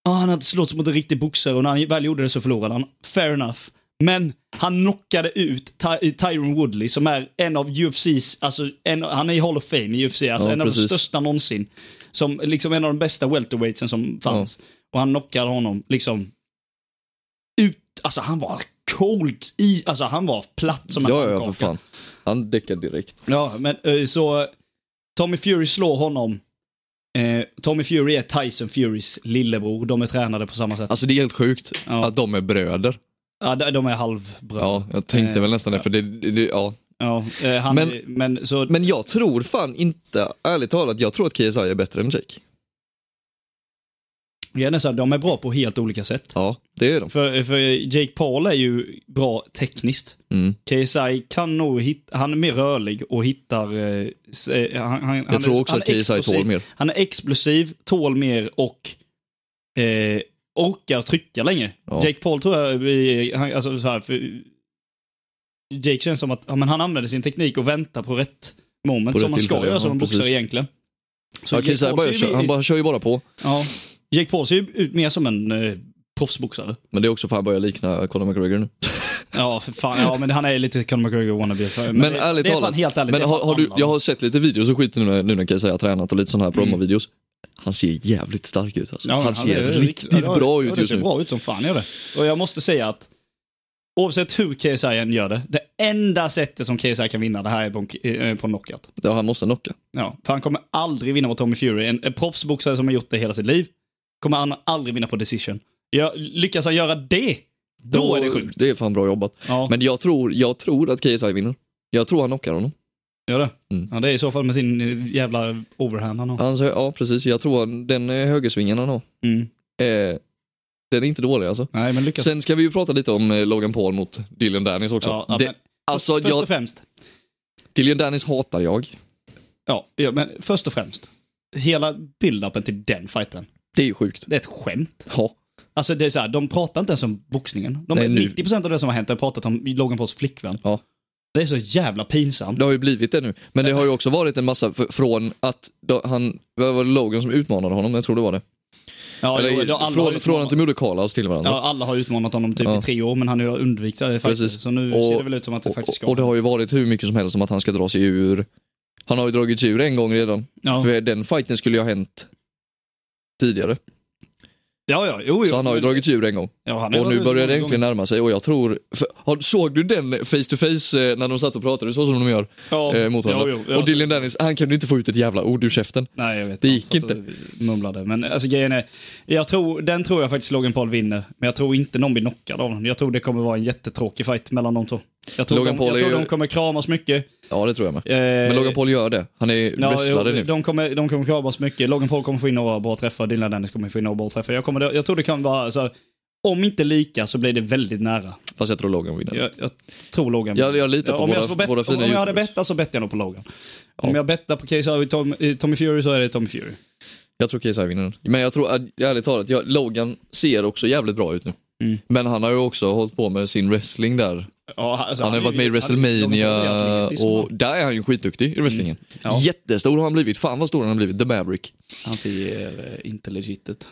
ah, han har inte slått mot en riktig boxare och när han väl gjorde det så förlorade han. Fair enough. Men han knockade ut Ty- Tyron Woodley som är en av UFCs, alltså en, han är i Hall of Fame i UFC, alltså
Ja,
en av de
precis.
största någonsin. Som liksom en av de bästa welterweightsen som fanns. Och han knockade honom liksom ut, alltså han var cold i, alltså han var platt som en
Ja, ja,
pannkaka.
för fan. Han däckar direkt.
Ja, men eh, så eh, Tommy Fury slår honom Eh, Tommy Fury är Tyson Furys lillebror. De är tränade på samma sätt.
Alltså det är helt sjukt
Ja.
att de är bröder.
Ja, de de är halvbröder.
Ja, jag tänkte
Eh,
väl nästan det, för det, det ja.
Ja, eh, han, men,
Men-
men så...
Men jag tror fan inte, ärligt talat, jag tror att KSI är bättre än Jake.
grejen är så här, de är bra på helt olika sätt.
Ja, det är de.
För, för Jake Paul är ju bra tekniskt.
Mm.
KSI kan nog hitta, han är mer rörlig och hittar... eh, s- eh, han, han,
Jag tror också att KSI tål mer.
Han är explosiv, tål mer och eh, orkar trycka länge.
Ja.
Jake Paul tror jag, eh, han, alltså så här, för Jake känns som att ja, men han använder sin teknik och väntar på rätt moment
På
som
rätt
man ska
tillfälle,
göra
ja,
som en boxare
precis.
egentligen. Så
Ja,
Jake
KSI
Paul
bara,
ser ju-
kör- han bara kör ju bara på.
Ja. Jake Paul ser ju ut mer som en eh, proffsboxare.
Men det är också för han börjar likna Conor McGregor nu.
Ja, för fan. Ja, men han är lite Conor McGregor wannabe. Men,
Men
det,
ärligt
det är fan
talat,
helt ärligt.
Men
det är
har,
fan
har du,
annan. Mm.
jag har sett lite videos och skit nu när, nu när KSI har tränat och lite sådana här promovideos. Han ser jävligt stark ut alltså.
Ja, men
han ser
är
riktigt
ja, ja,
bra ut
det
just
ser
nu.
bra ut som fan gör det. Och jag måste säga att oavsett hur KSI än gör det, det enda sättet som KSI kan vinna det här är på en, eh, på en knockout.
Ja, han måste knocka.
Ja, för han kommer aldrig vinna mot Tommy Fury. En, en proffsboxare som har gjort det hela sitt liv kommer han aldrig vinna på decision. Jag, lyckas han göra det, då, är det sjukt.
Det är fan bra jobbat.
Ja,
Men jag tror, jag tror att KSI vinner. Jag tror han knockar honom.
gör det.
Mm.
Ja, det är i så fall med sin eh, jävla overhand han har.
Han säger, ja precis, jag tror han, den eh, högersvingen han har,
Mm.
eh, den är inte dålig alltså.
Nej, men lyckas
Sen ska vi ju prata lite om eh, Logan Paul mot Dylan Dennis också.
Ja, ja,
det,
men-
alltså,
Först
jag,
och främst.
Dylan Dennis hatar jag.
Ja, ja, men först och främst. Hela build-upen till den fighten.
Det är ju sjukt.
Det är ett skämt.
Ja.
Alltså det är så här, de pratar inte ens om boxningen. De,
Nej, nu.
90% av det som har hänt har pratat om Logan Pauls flickvän.
Ja.
Det är så jävla pinsamt.
Det har ju blivit det nu. Men det har ju också varit en massa f- från att då han, vad var det Logan som utmanade honom? Jag tror det var det.
Ja,
Eller,
jo, då alla har
från,
utmanat-
från att de gjorde call-outs till varandra.
ja, alla har utmanat honom typ
Ja.
i tre år, men han har ju undvikit det faktiskt.
Precis.
Så nu
Och-
ser det väl ut som att det faktiskt ska.
och, och det har ju varit hur mycket som helst om att han ska dra sig ur. Han har ju dragit sig ur en gång redan.
Ja.
För den fighten skulle ju ha hänt tidigare.
Ja, ja, jo, jo.
Så han har ju
men-
dragit sig ur en gång.
ja, han har ju
Och nu
dragit
börjar det
många
egentligen närma sig och jag tror... För, har, såg du den face to face eh, när de satt och pratade så som de gör
gånger.
eh, mot varandra?
Ja, jo, jo,
och Dylan Dennis, han kunde inte få ut ett jävla ord ur käften.
Nej, jag vet.
Det gick
Han satt och Mumlade. Men alltså grejen är, jag tror, den tror jag faktiskt Logan Paul vinner. Men jag tror inte någon blir knockad av honom. Jag tror det kommer vara en jättetråkig fight mellan de två. Jag tror,
Logan
de,
Paul
jag
är
tror
ju-
de kommer kramas mycket.
Ja, det tror jag med.
Eh,
Men Logan Paul gör det. Han är
ja,
wrestlare
jo,
nu.
De kommer, de kommer kramas mycket. Logan Paul kommer få in några bra träffar. Dylan Dennis kommer få in några bra träffar. Jag, kommer, jag tror det kan vara, alltså, om inte lika så blir det väldigt nära.
Fast jag tror Logan vinner.
Jag, jag tror Logan.
Jag- jag litar på
om
våra-
jag får bet-
våra fina
Om jag hade
YouTubers.
bettat så bettar jag nog på Logan.
Ja.
Om jag bettar på KSI och Tom, eh, Tommy Fury så är det Tommy Fury.
Jag tror KSI vinner den. Men jag tror, att- ärligt talat, jag, Logan ser också jävligt bra ut nu.
Mm.
Men han har ju också hållit på med sin wrestling där.
Ja, alltså,
han har ju
är
varit med i
han- Logan Paul är
WrestleMania
atletisk,
och
man.
där är han ju skitduktig i wrestlingen.
Mm, Ja.
Jättestor har han blivit. Fan vad stor han har blivit. The Maverick.
Han ser eh, inte legit ut.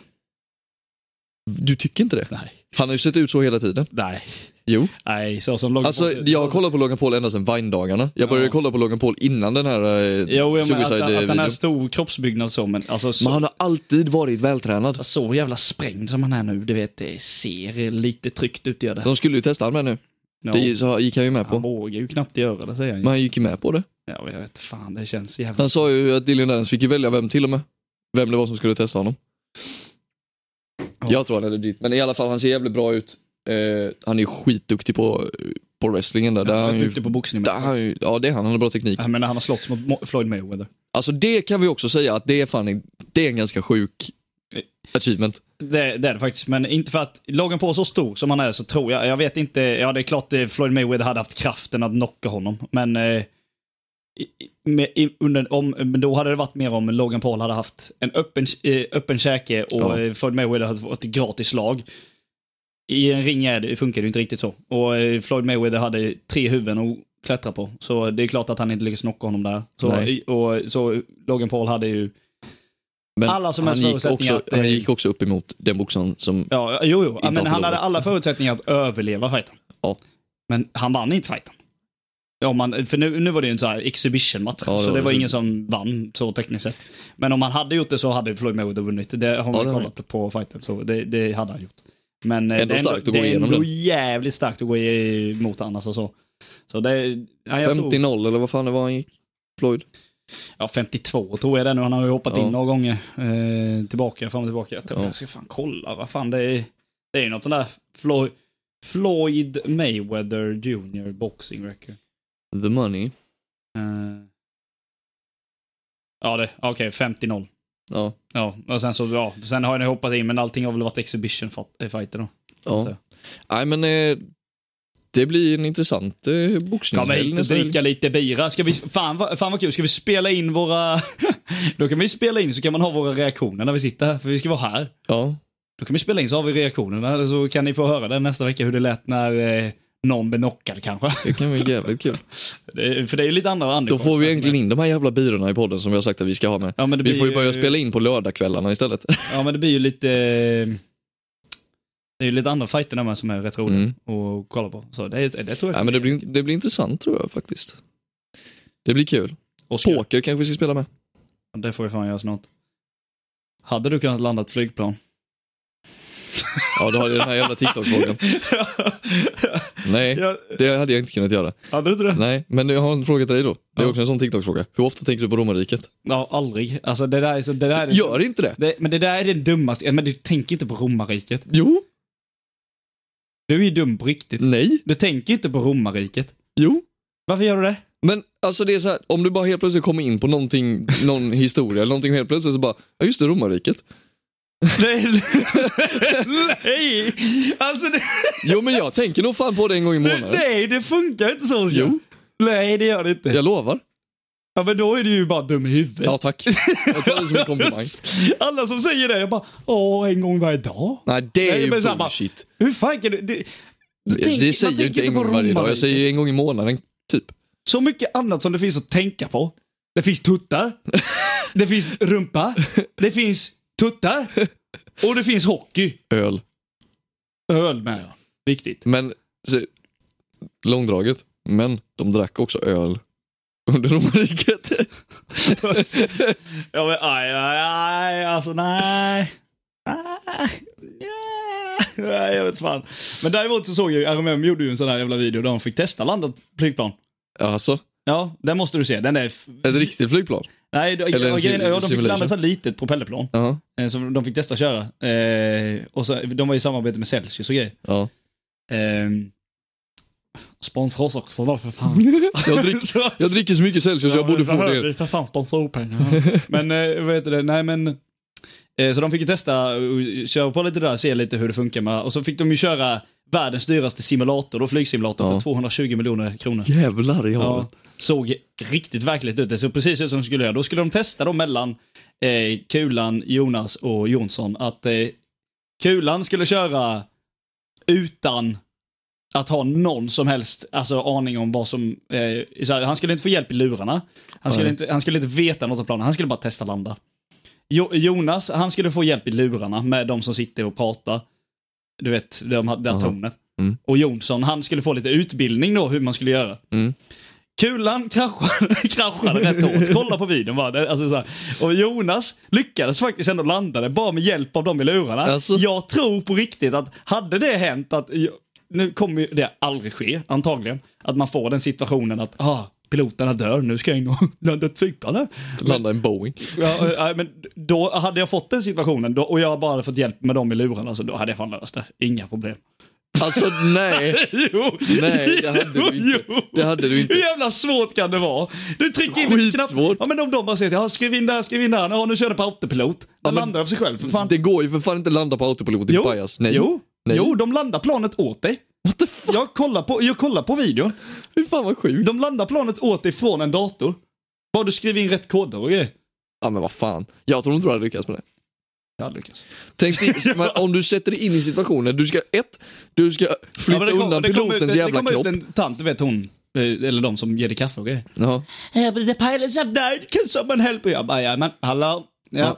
Du tycker inte det?
Nej.
Han har ju sett ut så hela tiden.
Nej.
Jo.
Nej, så som Logan
Alltså
Paul ser ut.
jag har kollat på Logan Paul ända sedan Vine-dagarna. Jag började
Ja.
kolla på Logan Paul innan den här eh,
Jo, jag menar att, att
Suicide-videon.
han har stor kroppsbyggnad så, men alltså så,
Men han har alltid varit vältränad.
så jävla sprängd som han är nu, du vet, det ser lite tryckt ut gör det.
De skulle ju testa honom med nu.
Ja,
Det så gick han ju med
han
på.
vågar ju knappt göra det, säger han
Men
ju.
han gick ju med på det.
Ja, men jag vet fan, det känns jävla...
Han sa ju att Dylan Dennis fick ju välja vem till och med. Vem det var som skulle testa honom. Jag tror han är legit. Men i alla fall, han ser jävligt bra ut. Eh, han är ju skitduktig på, eh, på wrestlingen där. där
Han
han
är
ju,
duktig på boxning.
där han
Men...
ju, ja, det är han. Han har bra teknik.
Jag menar, han har slått mot Mo- Floyd Mayweather.
Alltså det kan vi också säga att det är fan en, det är en ganska sjuk achievement.
Det, det är det faktiskt, men inte för att Logan Paul är så stor som han är så tror jag, jag vet inte, ja det är klart eh, Floyd Mayweather hade haft kraften att knocka honom, men eh, i- i- med, i, under, om, men då hade det varit mer om Logan Paul hade haft en öppen, eh, öppen käke och
Ja.
eh, Floyd Mayweather hade fått ett gratis slag. I en ring är det, funkar det ju inte riktigt så. Och eh, Floyd Mayweather hade tre huvuden att klättra på, så det är klart att han inte lyckades knocka honom där. Så,
Nej.
och, så Logan Paul hade ju,
Men
Alla som
han,
helst
gick
förutsättningar
också,
att, eh,
han gick också upp emot den boxaren som...
ja jo jo,
har
men han hade
förlorat.
alla förutsättningar att överleva fighten.
Ja.
Men han vann inte fighten. Ja, man, för nu, nu var det ju en sån här exhibition-match,
Ja, det
så
var
det
det.
var
Så-
ingen som vann så tekniskt sett. Men om han hade gjort det så hade Floyd Mayweather vunnit. Det har man
det har
kollat på fighten, så det, det hade han gjort. Men eh,
Ändå
det är ändå,
starkt att gå
det är
igenom
ändå
den.
jävligt starkt att gå i- emot annars och alltså, så. Så det... Ja, jag tror,
50-0 eller vad fan det var han gick. Floyd.
ja, 52 tror jag det är nu. Han har ju hoppat
Ja.
in några gånger. Eh, tillbaka, fram och tillbaka. Jag, tror, jag ska fan kolla vad fan det är. Det är ju något sånt där Floyd, Floyd Mayweather Jr. Boxing Record.
The money.
Eh, ja, det, okej, 50-0.
Ja.
Ja, och sen så, ja, sen har han ju hoppat in, men allting har väl varit exhibition fat- eh, fighter då.
ja.
Inte.
Nej men eh, det blir en intressant eh, boxning.
Kom hit och dricka lite bira. Ska vi, fan, vad- fan vad kul, ska vi spela in våra... [LAUGHS] Då kan vi spela in så kan man ha våra reaktioner när vi sitter här, för vi ska vara här.
Ja.
Då kan vi spela in så har vi reaktionerna, så kan ni få höra den nästa vecka hur det lät när eh, någon blev knockad kanske. [LAUGHS]
Det kan vara jävligt kul.
Det, är- för det är ju lite andra
Då
andefång
får vi
som
egentligen in de här jävla birorna i podden som vi har sagt att vi ska ha med.
Ja, men det
Vi
blir
får ju börja
ju-
spela in på
[LAUGHS]
lördagskvällarna istället.
Ja, men det blir ju lite... eh, Det är ju lite andra fighter där med som är rätt roliga
Mm.
att kolla på. Så det, det tror jag.
Nej, men det, blir, det blir intressant tror jag faktiskt. Det blir kul.
Oscar,
Poker kanske vi ska spela med.
det får vi fan göra snart. Hade du kunnat landa ett
[LAUGHS]
flygplan?
Ja, då har jag den här jävla TikTok-frågan. Nej,
Ja,
det hade jag inte kunnat göra.
hade du inte det?
Nej, men jag har en fråga till dig då. Det är
Ja.
också en sån TikTok-fråga. Hur ofta tänker du på romarriket?
Ja, aldrig. Alltså det där är så... Det där är det,
Gör inte det!
det, men det där är det dummaste. Ja, Men du tänker inte på romarriket.
Jo,
Du är ju dum på riktigt.
nej,
Du tänker inte på romarriket.
jo.
Varför gör du det?
Men alltså det är så här, om du bara helt plötsligt kommer in på någonting, någon historia eller någonting helt plötsligt så bara, ja just det, romarriket.
[LAUGHS] Nej! Nej! Alltså det...
Jo men jag tänker nog fan på det en gång i månaden.
Nej, det funkar inte så. Oskar.
Jo.
Nej, det gör det inte.
Jag lovar.
Ja, men då är du ju bara dum i huvudet.
Ja tack. Jag tar det som
[LAUGHS]
en komplimang.
Alla som säger det, jag bara, åh, en gång varje dag.
Nej det är
Nej,
ju
men så här bara-
bullshit.
Hur fan kan du... Det, du
Det,
tänker- man
säger
tänker
jag inte en
på
gång varje dag, jag
romarriket.
säger ju en gång i månaden typ.
Så mycket annat som det finns att tänka på. Det finns
[LAUGHS]
tuttar. det finns rumpa. Det finns tuttar. Och det finns hockey.
Öl.
Öl med, ja. Viktigt.
Men, så, långdraget, men de drack också öl under romarriket.
[LAUGHS] Ja, men aj, aj, aj, alltså nej. Ah, ja, Nej, jag vet fan. Men däremot så såg jag ju, RMM gjorde ju en sån här jävla video där de fick testa landat flygplan.
alltså,
Ja, den måste du se. Den är... f-
ett riktigt flygplan.
Nej, då-
Eller en
ja, grejen,
sim-
ja, de fick
simulation.
landa ett sånt litet propellerplan.
Ja,
eh, Som de fick testa att köra. Eh, och så, de var i samarbete med Celsius och grejer.
ja.
Eh, sponsra oss också då för fan.
[LAUGHS] Jag, drick,
[LAUGHS] Så-
jag dricker så mycket Celsius jag borde få det.
för fan sponsorpengar. [LAUGHS] men eh, vad heter det, nej men. Eh, så de fick ju testa och eh, köra på lite där, se lite hur det funkar med. Och så fick de ju köra världens dyraste simulator, då flygsimulator,
Ja.
för 220 miljoner kronor.
Jävlar i
Ja,
havet.
såg riktigt verkligt ut. Det såg precis ut som de skulle göra. Då skulle de testa då mellan eh, Kulan, Jonas och Jonsson att eh, Kulan skulle köra utan att ha någon som helst alltså, aning om vad som... Eh, så här, han skulle inte få hjälp i lurarna. Han skulle,
Nej.
inte, han skulle inte veta något om planen. Han skulle bara testa landa. Jo, Jonas, han skulle få hjälp i lurarna med de som sitter och pratar. Du vet, de, hade- det där
Aha.
tornet.
Mm.
Och Jonsson, han skulle få lite utbildning då hur man skulle göra.
Mm.
Kulan kraschade, [LAUGHS] kraschade rätt hårt. Kolla på videon bara. Det- Alltså, så här. Och Jonas lyckades faktiskt ändå landa det bara med hjälp av dem i lurarna.
Alltså.
Jag tror på riktigt att hade det hänt att, nu kommer ju det aldrig ske antagligen, att man får den situationen att ah, piloterna dör, nu ska jag in och [LAUGHS] landa ett flygplan här.
Landa en Boeing.
Ja, eh, eh, men då hade jag fått den situationen då, och jag bara hade fått hjälp med dem i lurarna så då hade jag fan löst det. Inga problem. [LAUGHS]
Alltså nej,
Jo,
nej det hade du inte. Det hade du
Hur
inte.
jävla svårt kan det vara? Du trycker in en knapp.
Skitsvårt.
Ja, men om de bara säger ja, skriv in där, skriv in där. Ja, nu kör den på autopilot. Den
men-
landar av sig själv för fan.
Det går ju för fan inte landa på autopilot, ditt pajas. Nej.
jo,
Nej.
jo, de landar planet åt dig.
What the fuck?
Jag kollar, på, jag kollar på videon.
Fy fan vad sjukt.
De landar planet åt dig från en dator. Bara du skriver in rätt koder och grejer.
Ja men vad fan. Jag tror inte du hade lyckats med det.
Ja, Lukas.
Tänk dig, men om du sätter dig in i situationen, du ska ett, du ska
Ja,
flytta
men det kom-
undan
det kom ut-
pilotens
det-
jävla
Det
kropp.
kommer ut en tant, du vet hon, eh, eller de som ger dig kaffe och grejer.
Ja.
Yeah, but Eh, the pilots have died. Can someone help? Jag bara, ja, men hallå? Ja.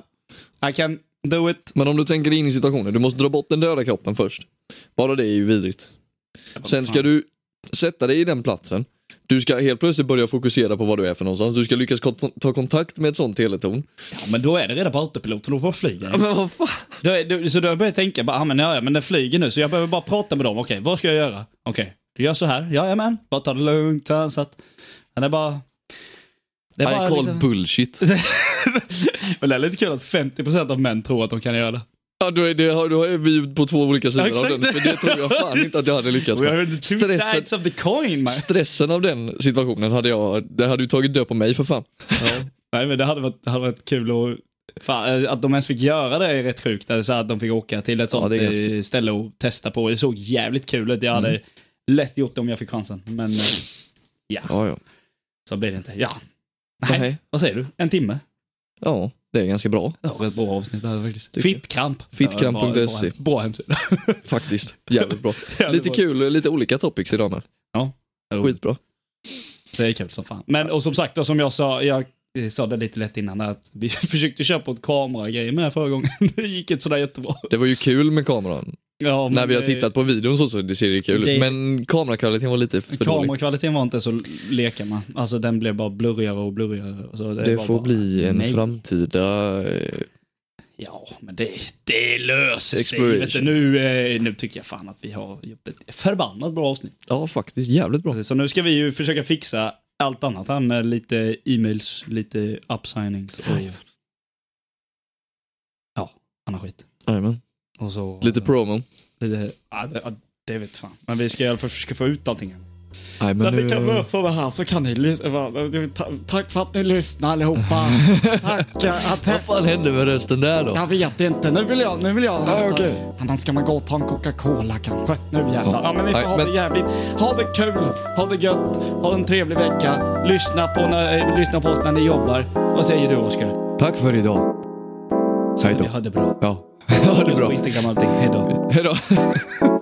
I can do it.
Men om du tänker dig in i situationen, du måste dra bort den döda kroppen först. Bara det är ju vidrigt. Sen ska du sätta dig i den platsen. Du ska helt plötsligt börja fokusera på vad du är för någonstans. Du ska lyckas kont- ta kontakt med ett sånt teleton.
Ja, men då är det redan på autopilot, så då får jag flyga.
Men vad fan?
Då är, då, så då börjar jag tänka, bara, ah, men, ja, ja, men den flyger nu, så jag behöver bara prata med dem. Okej, vad ska jag göra? Okej, du gör så här. Jajamän, bara ta det lugnt. Så här, så att, han är bara... Det
I
är bara
call
liksom... [LAUGHS]
bullshit.
Men det är lite kul att 50% av män tror att de kan göra det.
Ja, då, är det, då är vi på två olika sidor
Ja, exakt.
av den, för det tror jag fan inte att [LAUGHS] jag hade lyckats
We are
med.
the two
Stressen,
sides of the coin. man.
stressen av den situationen hade jag, det hade ju tagit död på mig för fan.
Nej men det hade varit, det hade varit kul att... Fan, eh, att de ens fick göra det är rätt sjukt. Det är så här att de fick åka till ett
Ja,
sånt
det är Mm.
eh, ställe och testa på. Det såg jävligt kul ut. Jag hade lätt gjort det om jag fick chansen. Men eh,
Ja, ja.
så blir det inte. Ja, Nej.
Nej.
vad säger du? En timme?
Ja, det är ganska bra
Det var ett bra avsnitt här faktiskt.
Tycker jag.
Fittkramp.
Fittkramp.se.
Ja, bra- Bra
[LAUGHS]
hemsida.
faktiskt. Jävligt [LAUGHS] bra. Lite
bra.
kul, lite olika topics idag med.
Ja.
Skitbra.
Det är kul som fan. Men och som sagt, då, som jag sa, jag eh, sa det lite lätt innan, att vi [LAUGHS] försökte köpa ett kameragrej med förra gången. [LAUGHS] Det gick inte sådär jättebra.
Det var ju kul med kameran.
Ja, men
När vi har
det-
tittat på videon så, så det ser det kul
Eh, Det-
ut. Men kamerakvaliteten var lite för dålig.
Kamerakvaliteten var inte så leken med. Alltså den blev bara blurrigare och blurrigare. Så det
Det
var
får
bara,
bli en
nej.
framtida... eh,
Ja, men det, det löser sig.
Exploration.
Vet du, nu, eh, nu tycker jag fan att vi har gjort ett förbannat bra avsnitt.
Ja, faktiskt. Jävligt bra.
Så nu ska vi ju försöka fixa allt annat här med lite e-mails, lite upsignings och... Ja, annan skit.
Jajamän.
Och så...
Lite promo.
Lite, ja, det, ja, det vet fan. Men vi ska i alla fall försöka få ut allting.
Nej, men nu...
det här så kan ni
eh,
lyssna. Tack för att ni lyssnade
[LAUGHS]
allihopa. Tack.
eh,
Vad fan hände med rösten där då?
Jag vet inte. Nu vill jag... Nu vill jag
Ja, okej.
Annars ska man gå och ta en Coca-Cola kanske. Nu jävlar.
Ja, men ni får
Nej,
ha
men-
det jävligt. Ha det kul, ha det gött, ha en trevlig vecka. Lyssna på, när, eh, lyssna på oss när ni jobbar. Vad säger du Oskar?
Tack för idag. Säg
Vi
då.
har det bra.
Ja. [LAUGHS] Ha det
Följ oss
bra.
på Instagram och allting. Hej då.
Hej då. [LAUGHS] [LAUGHS]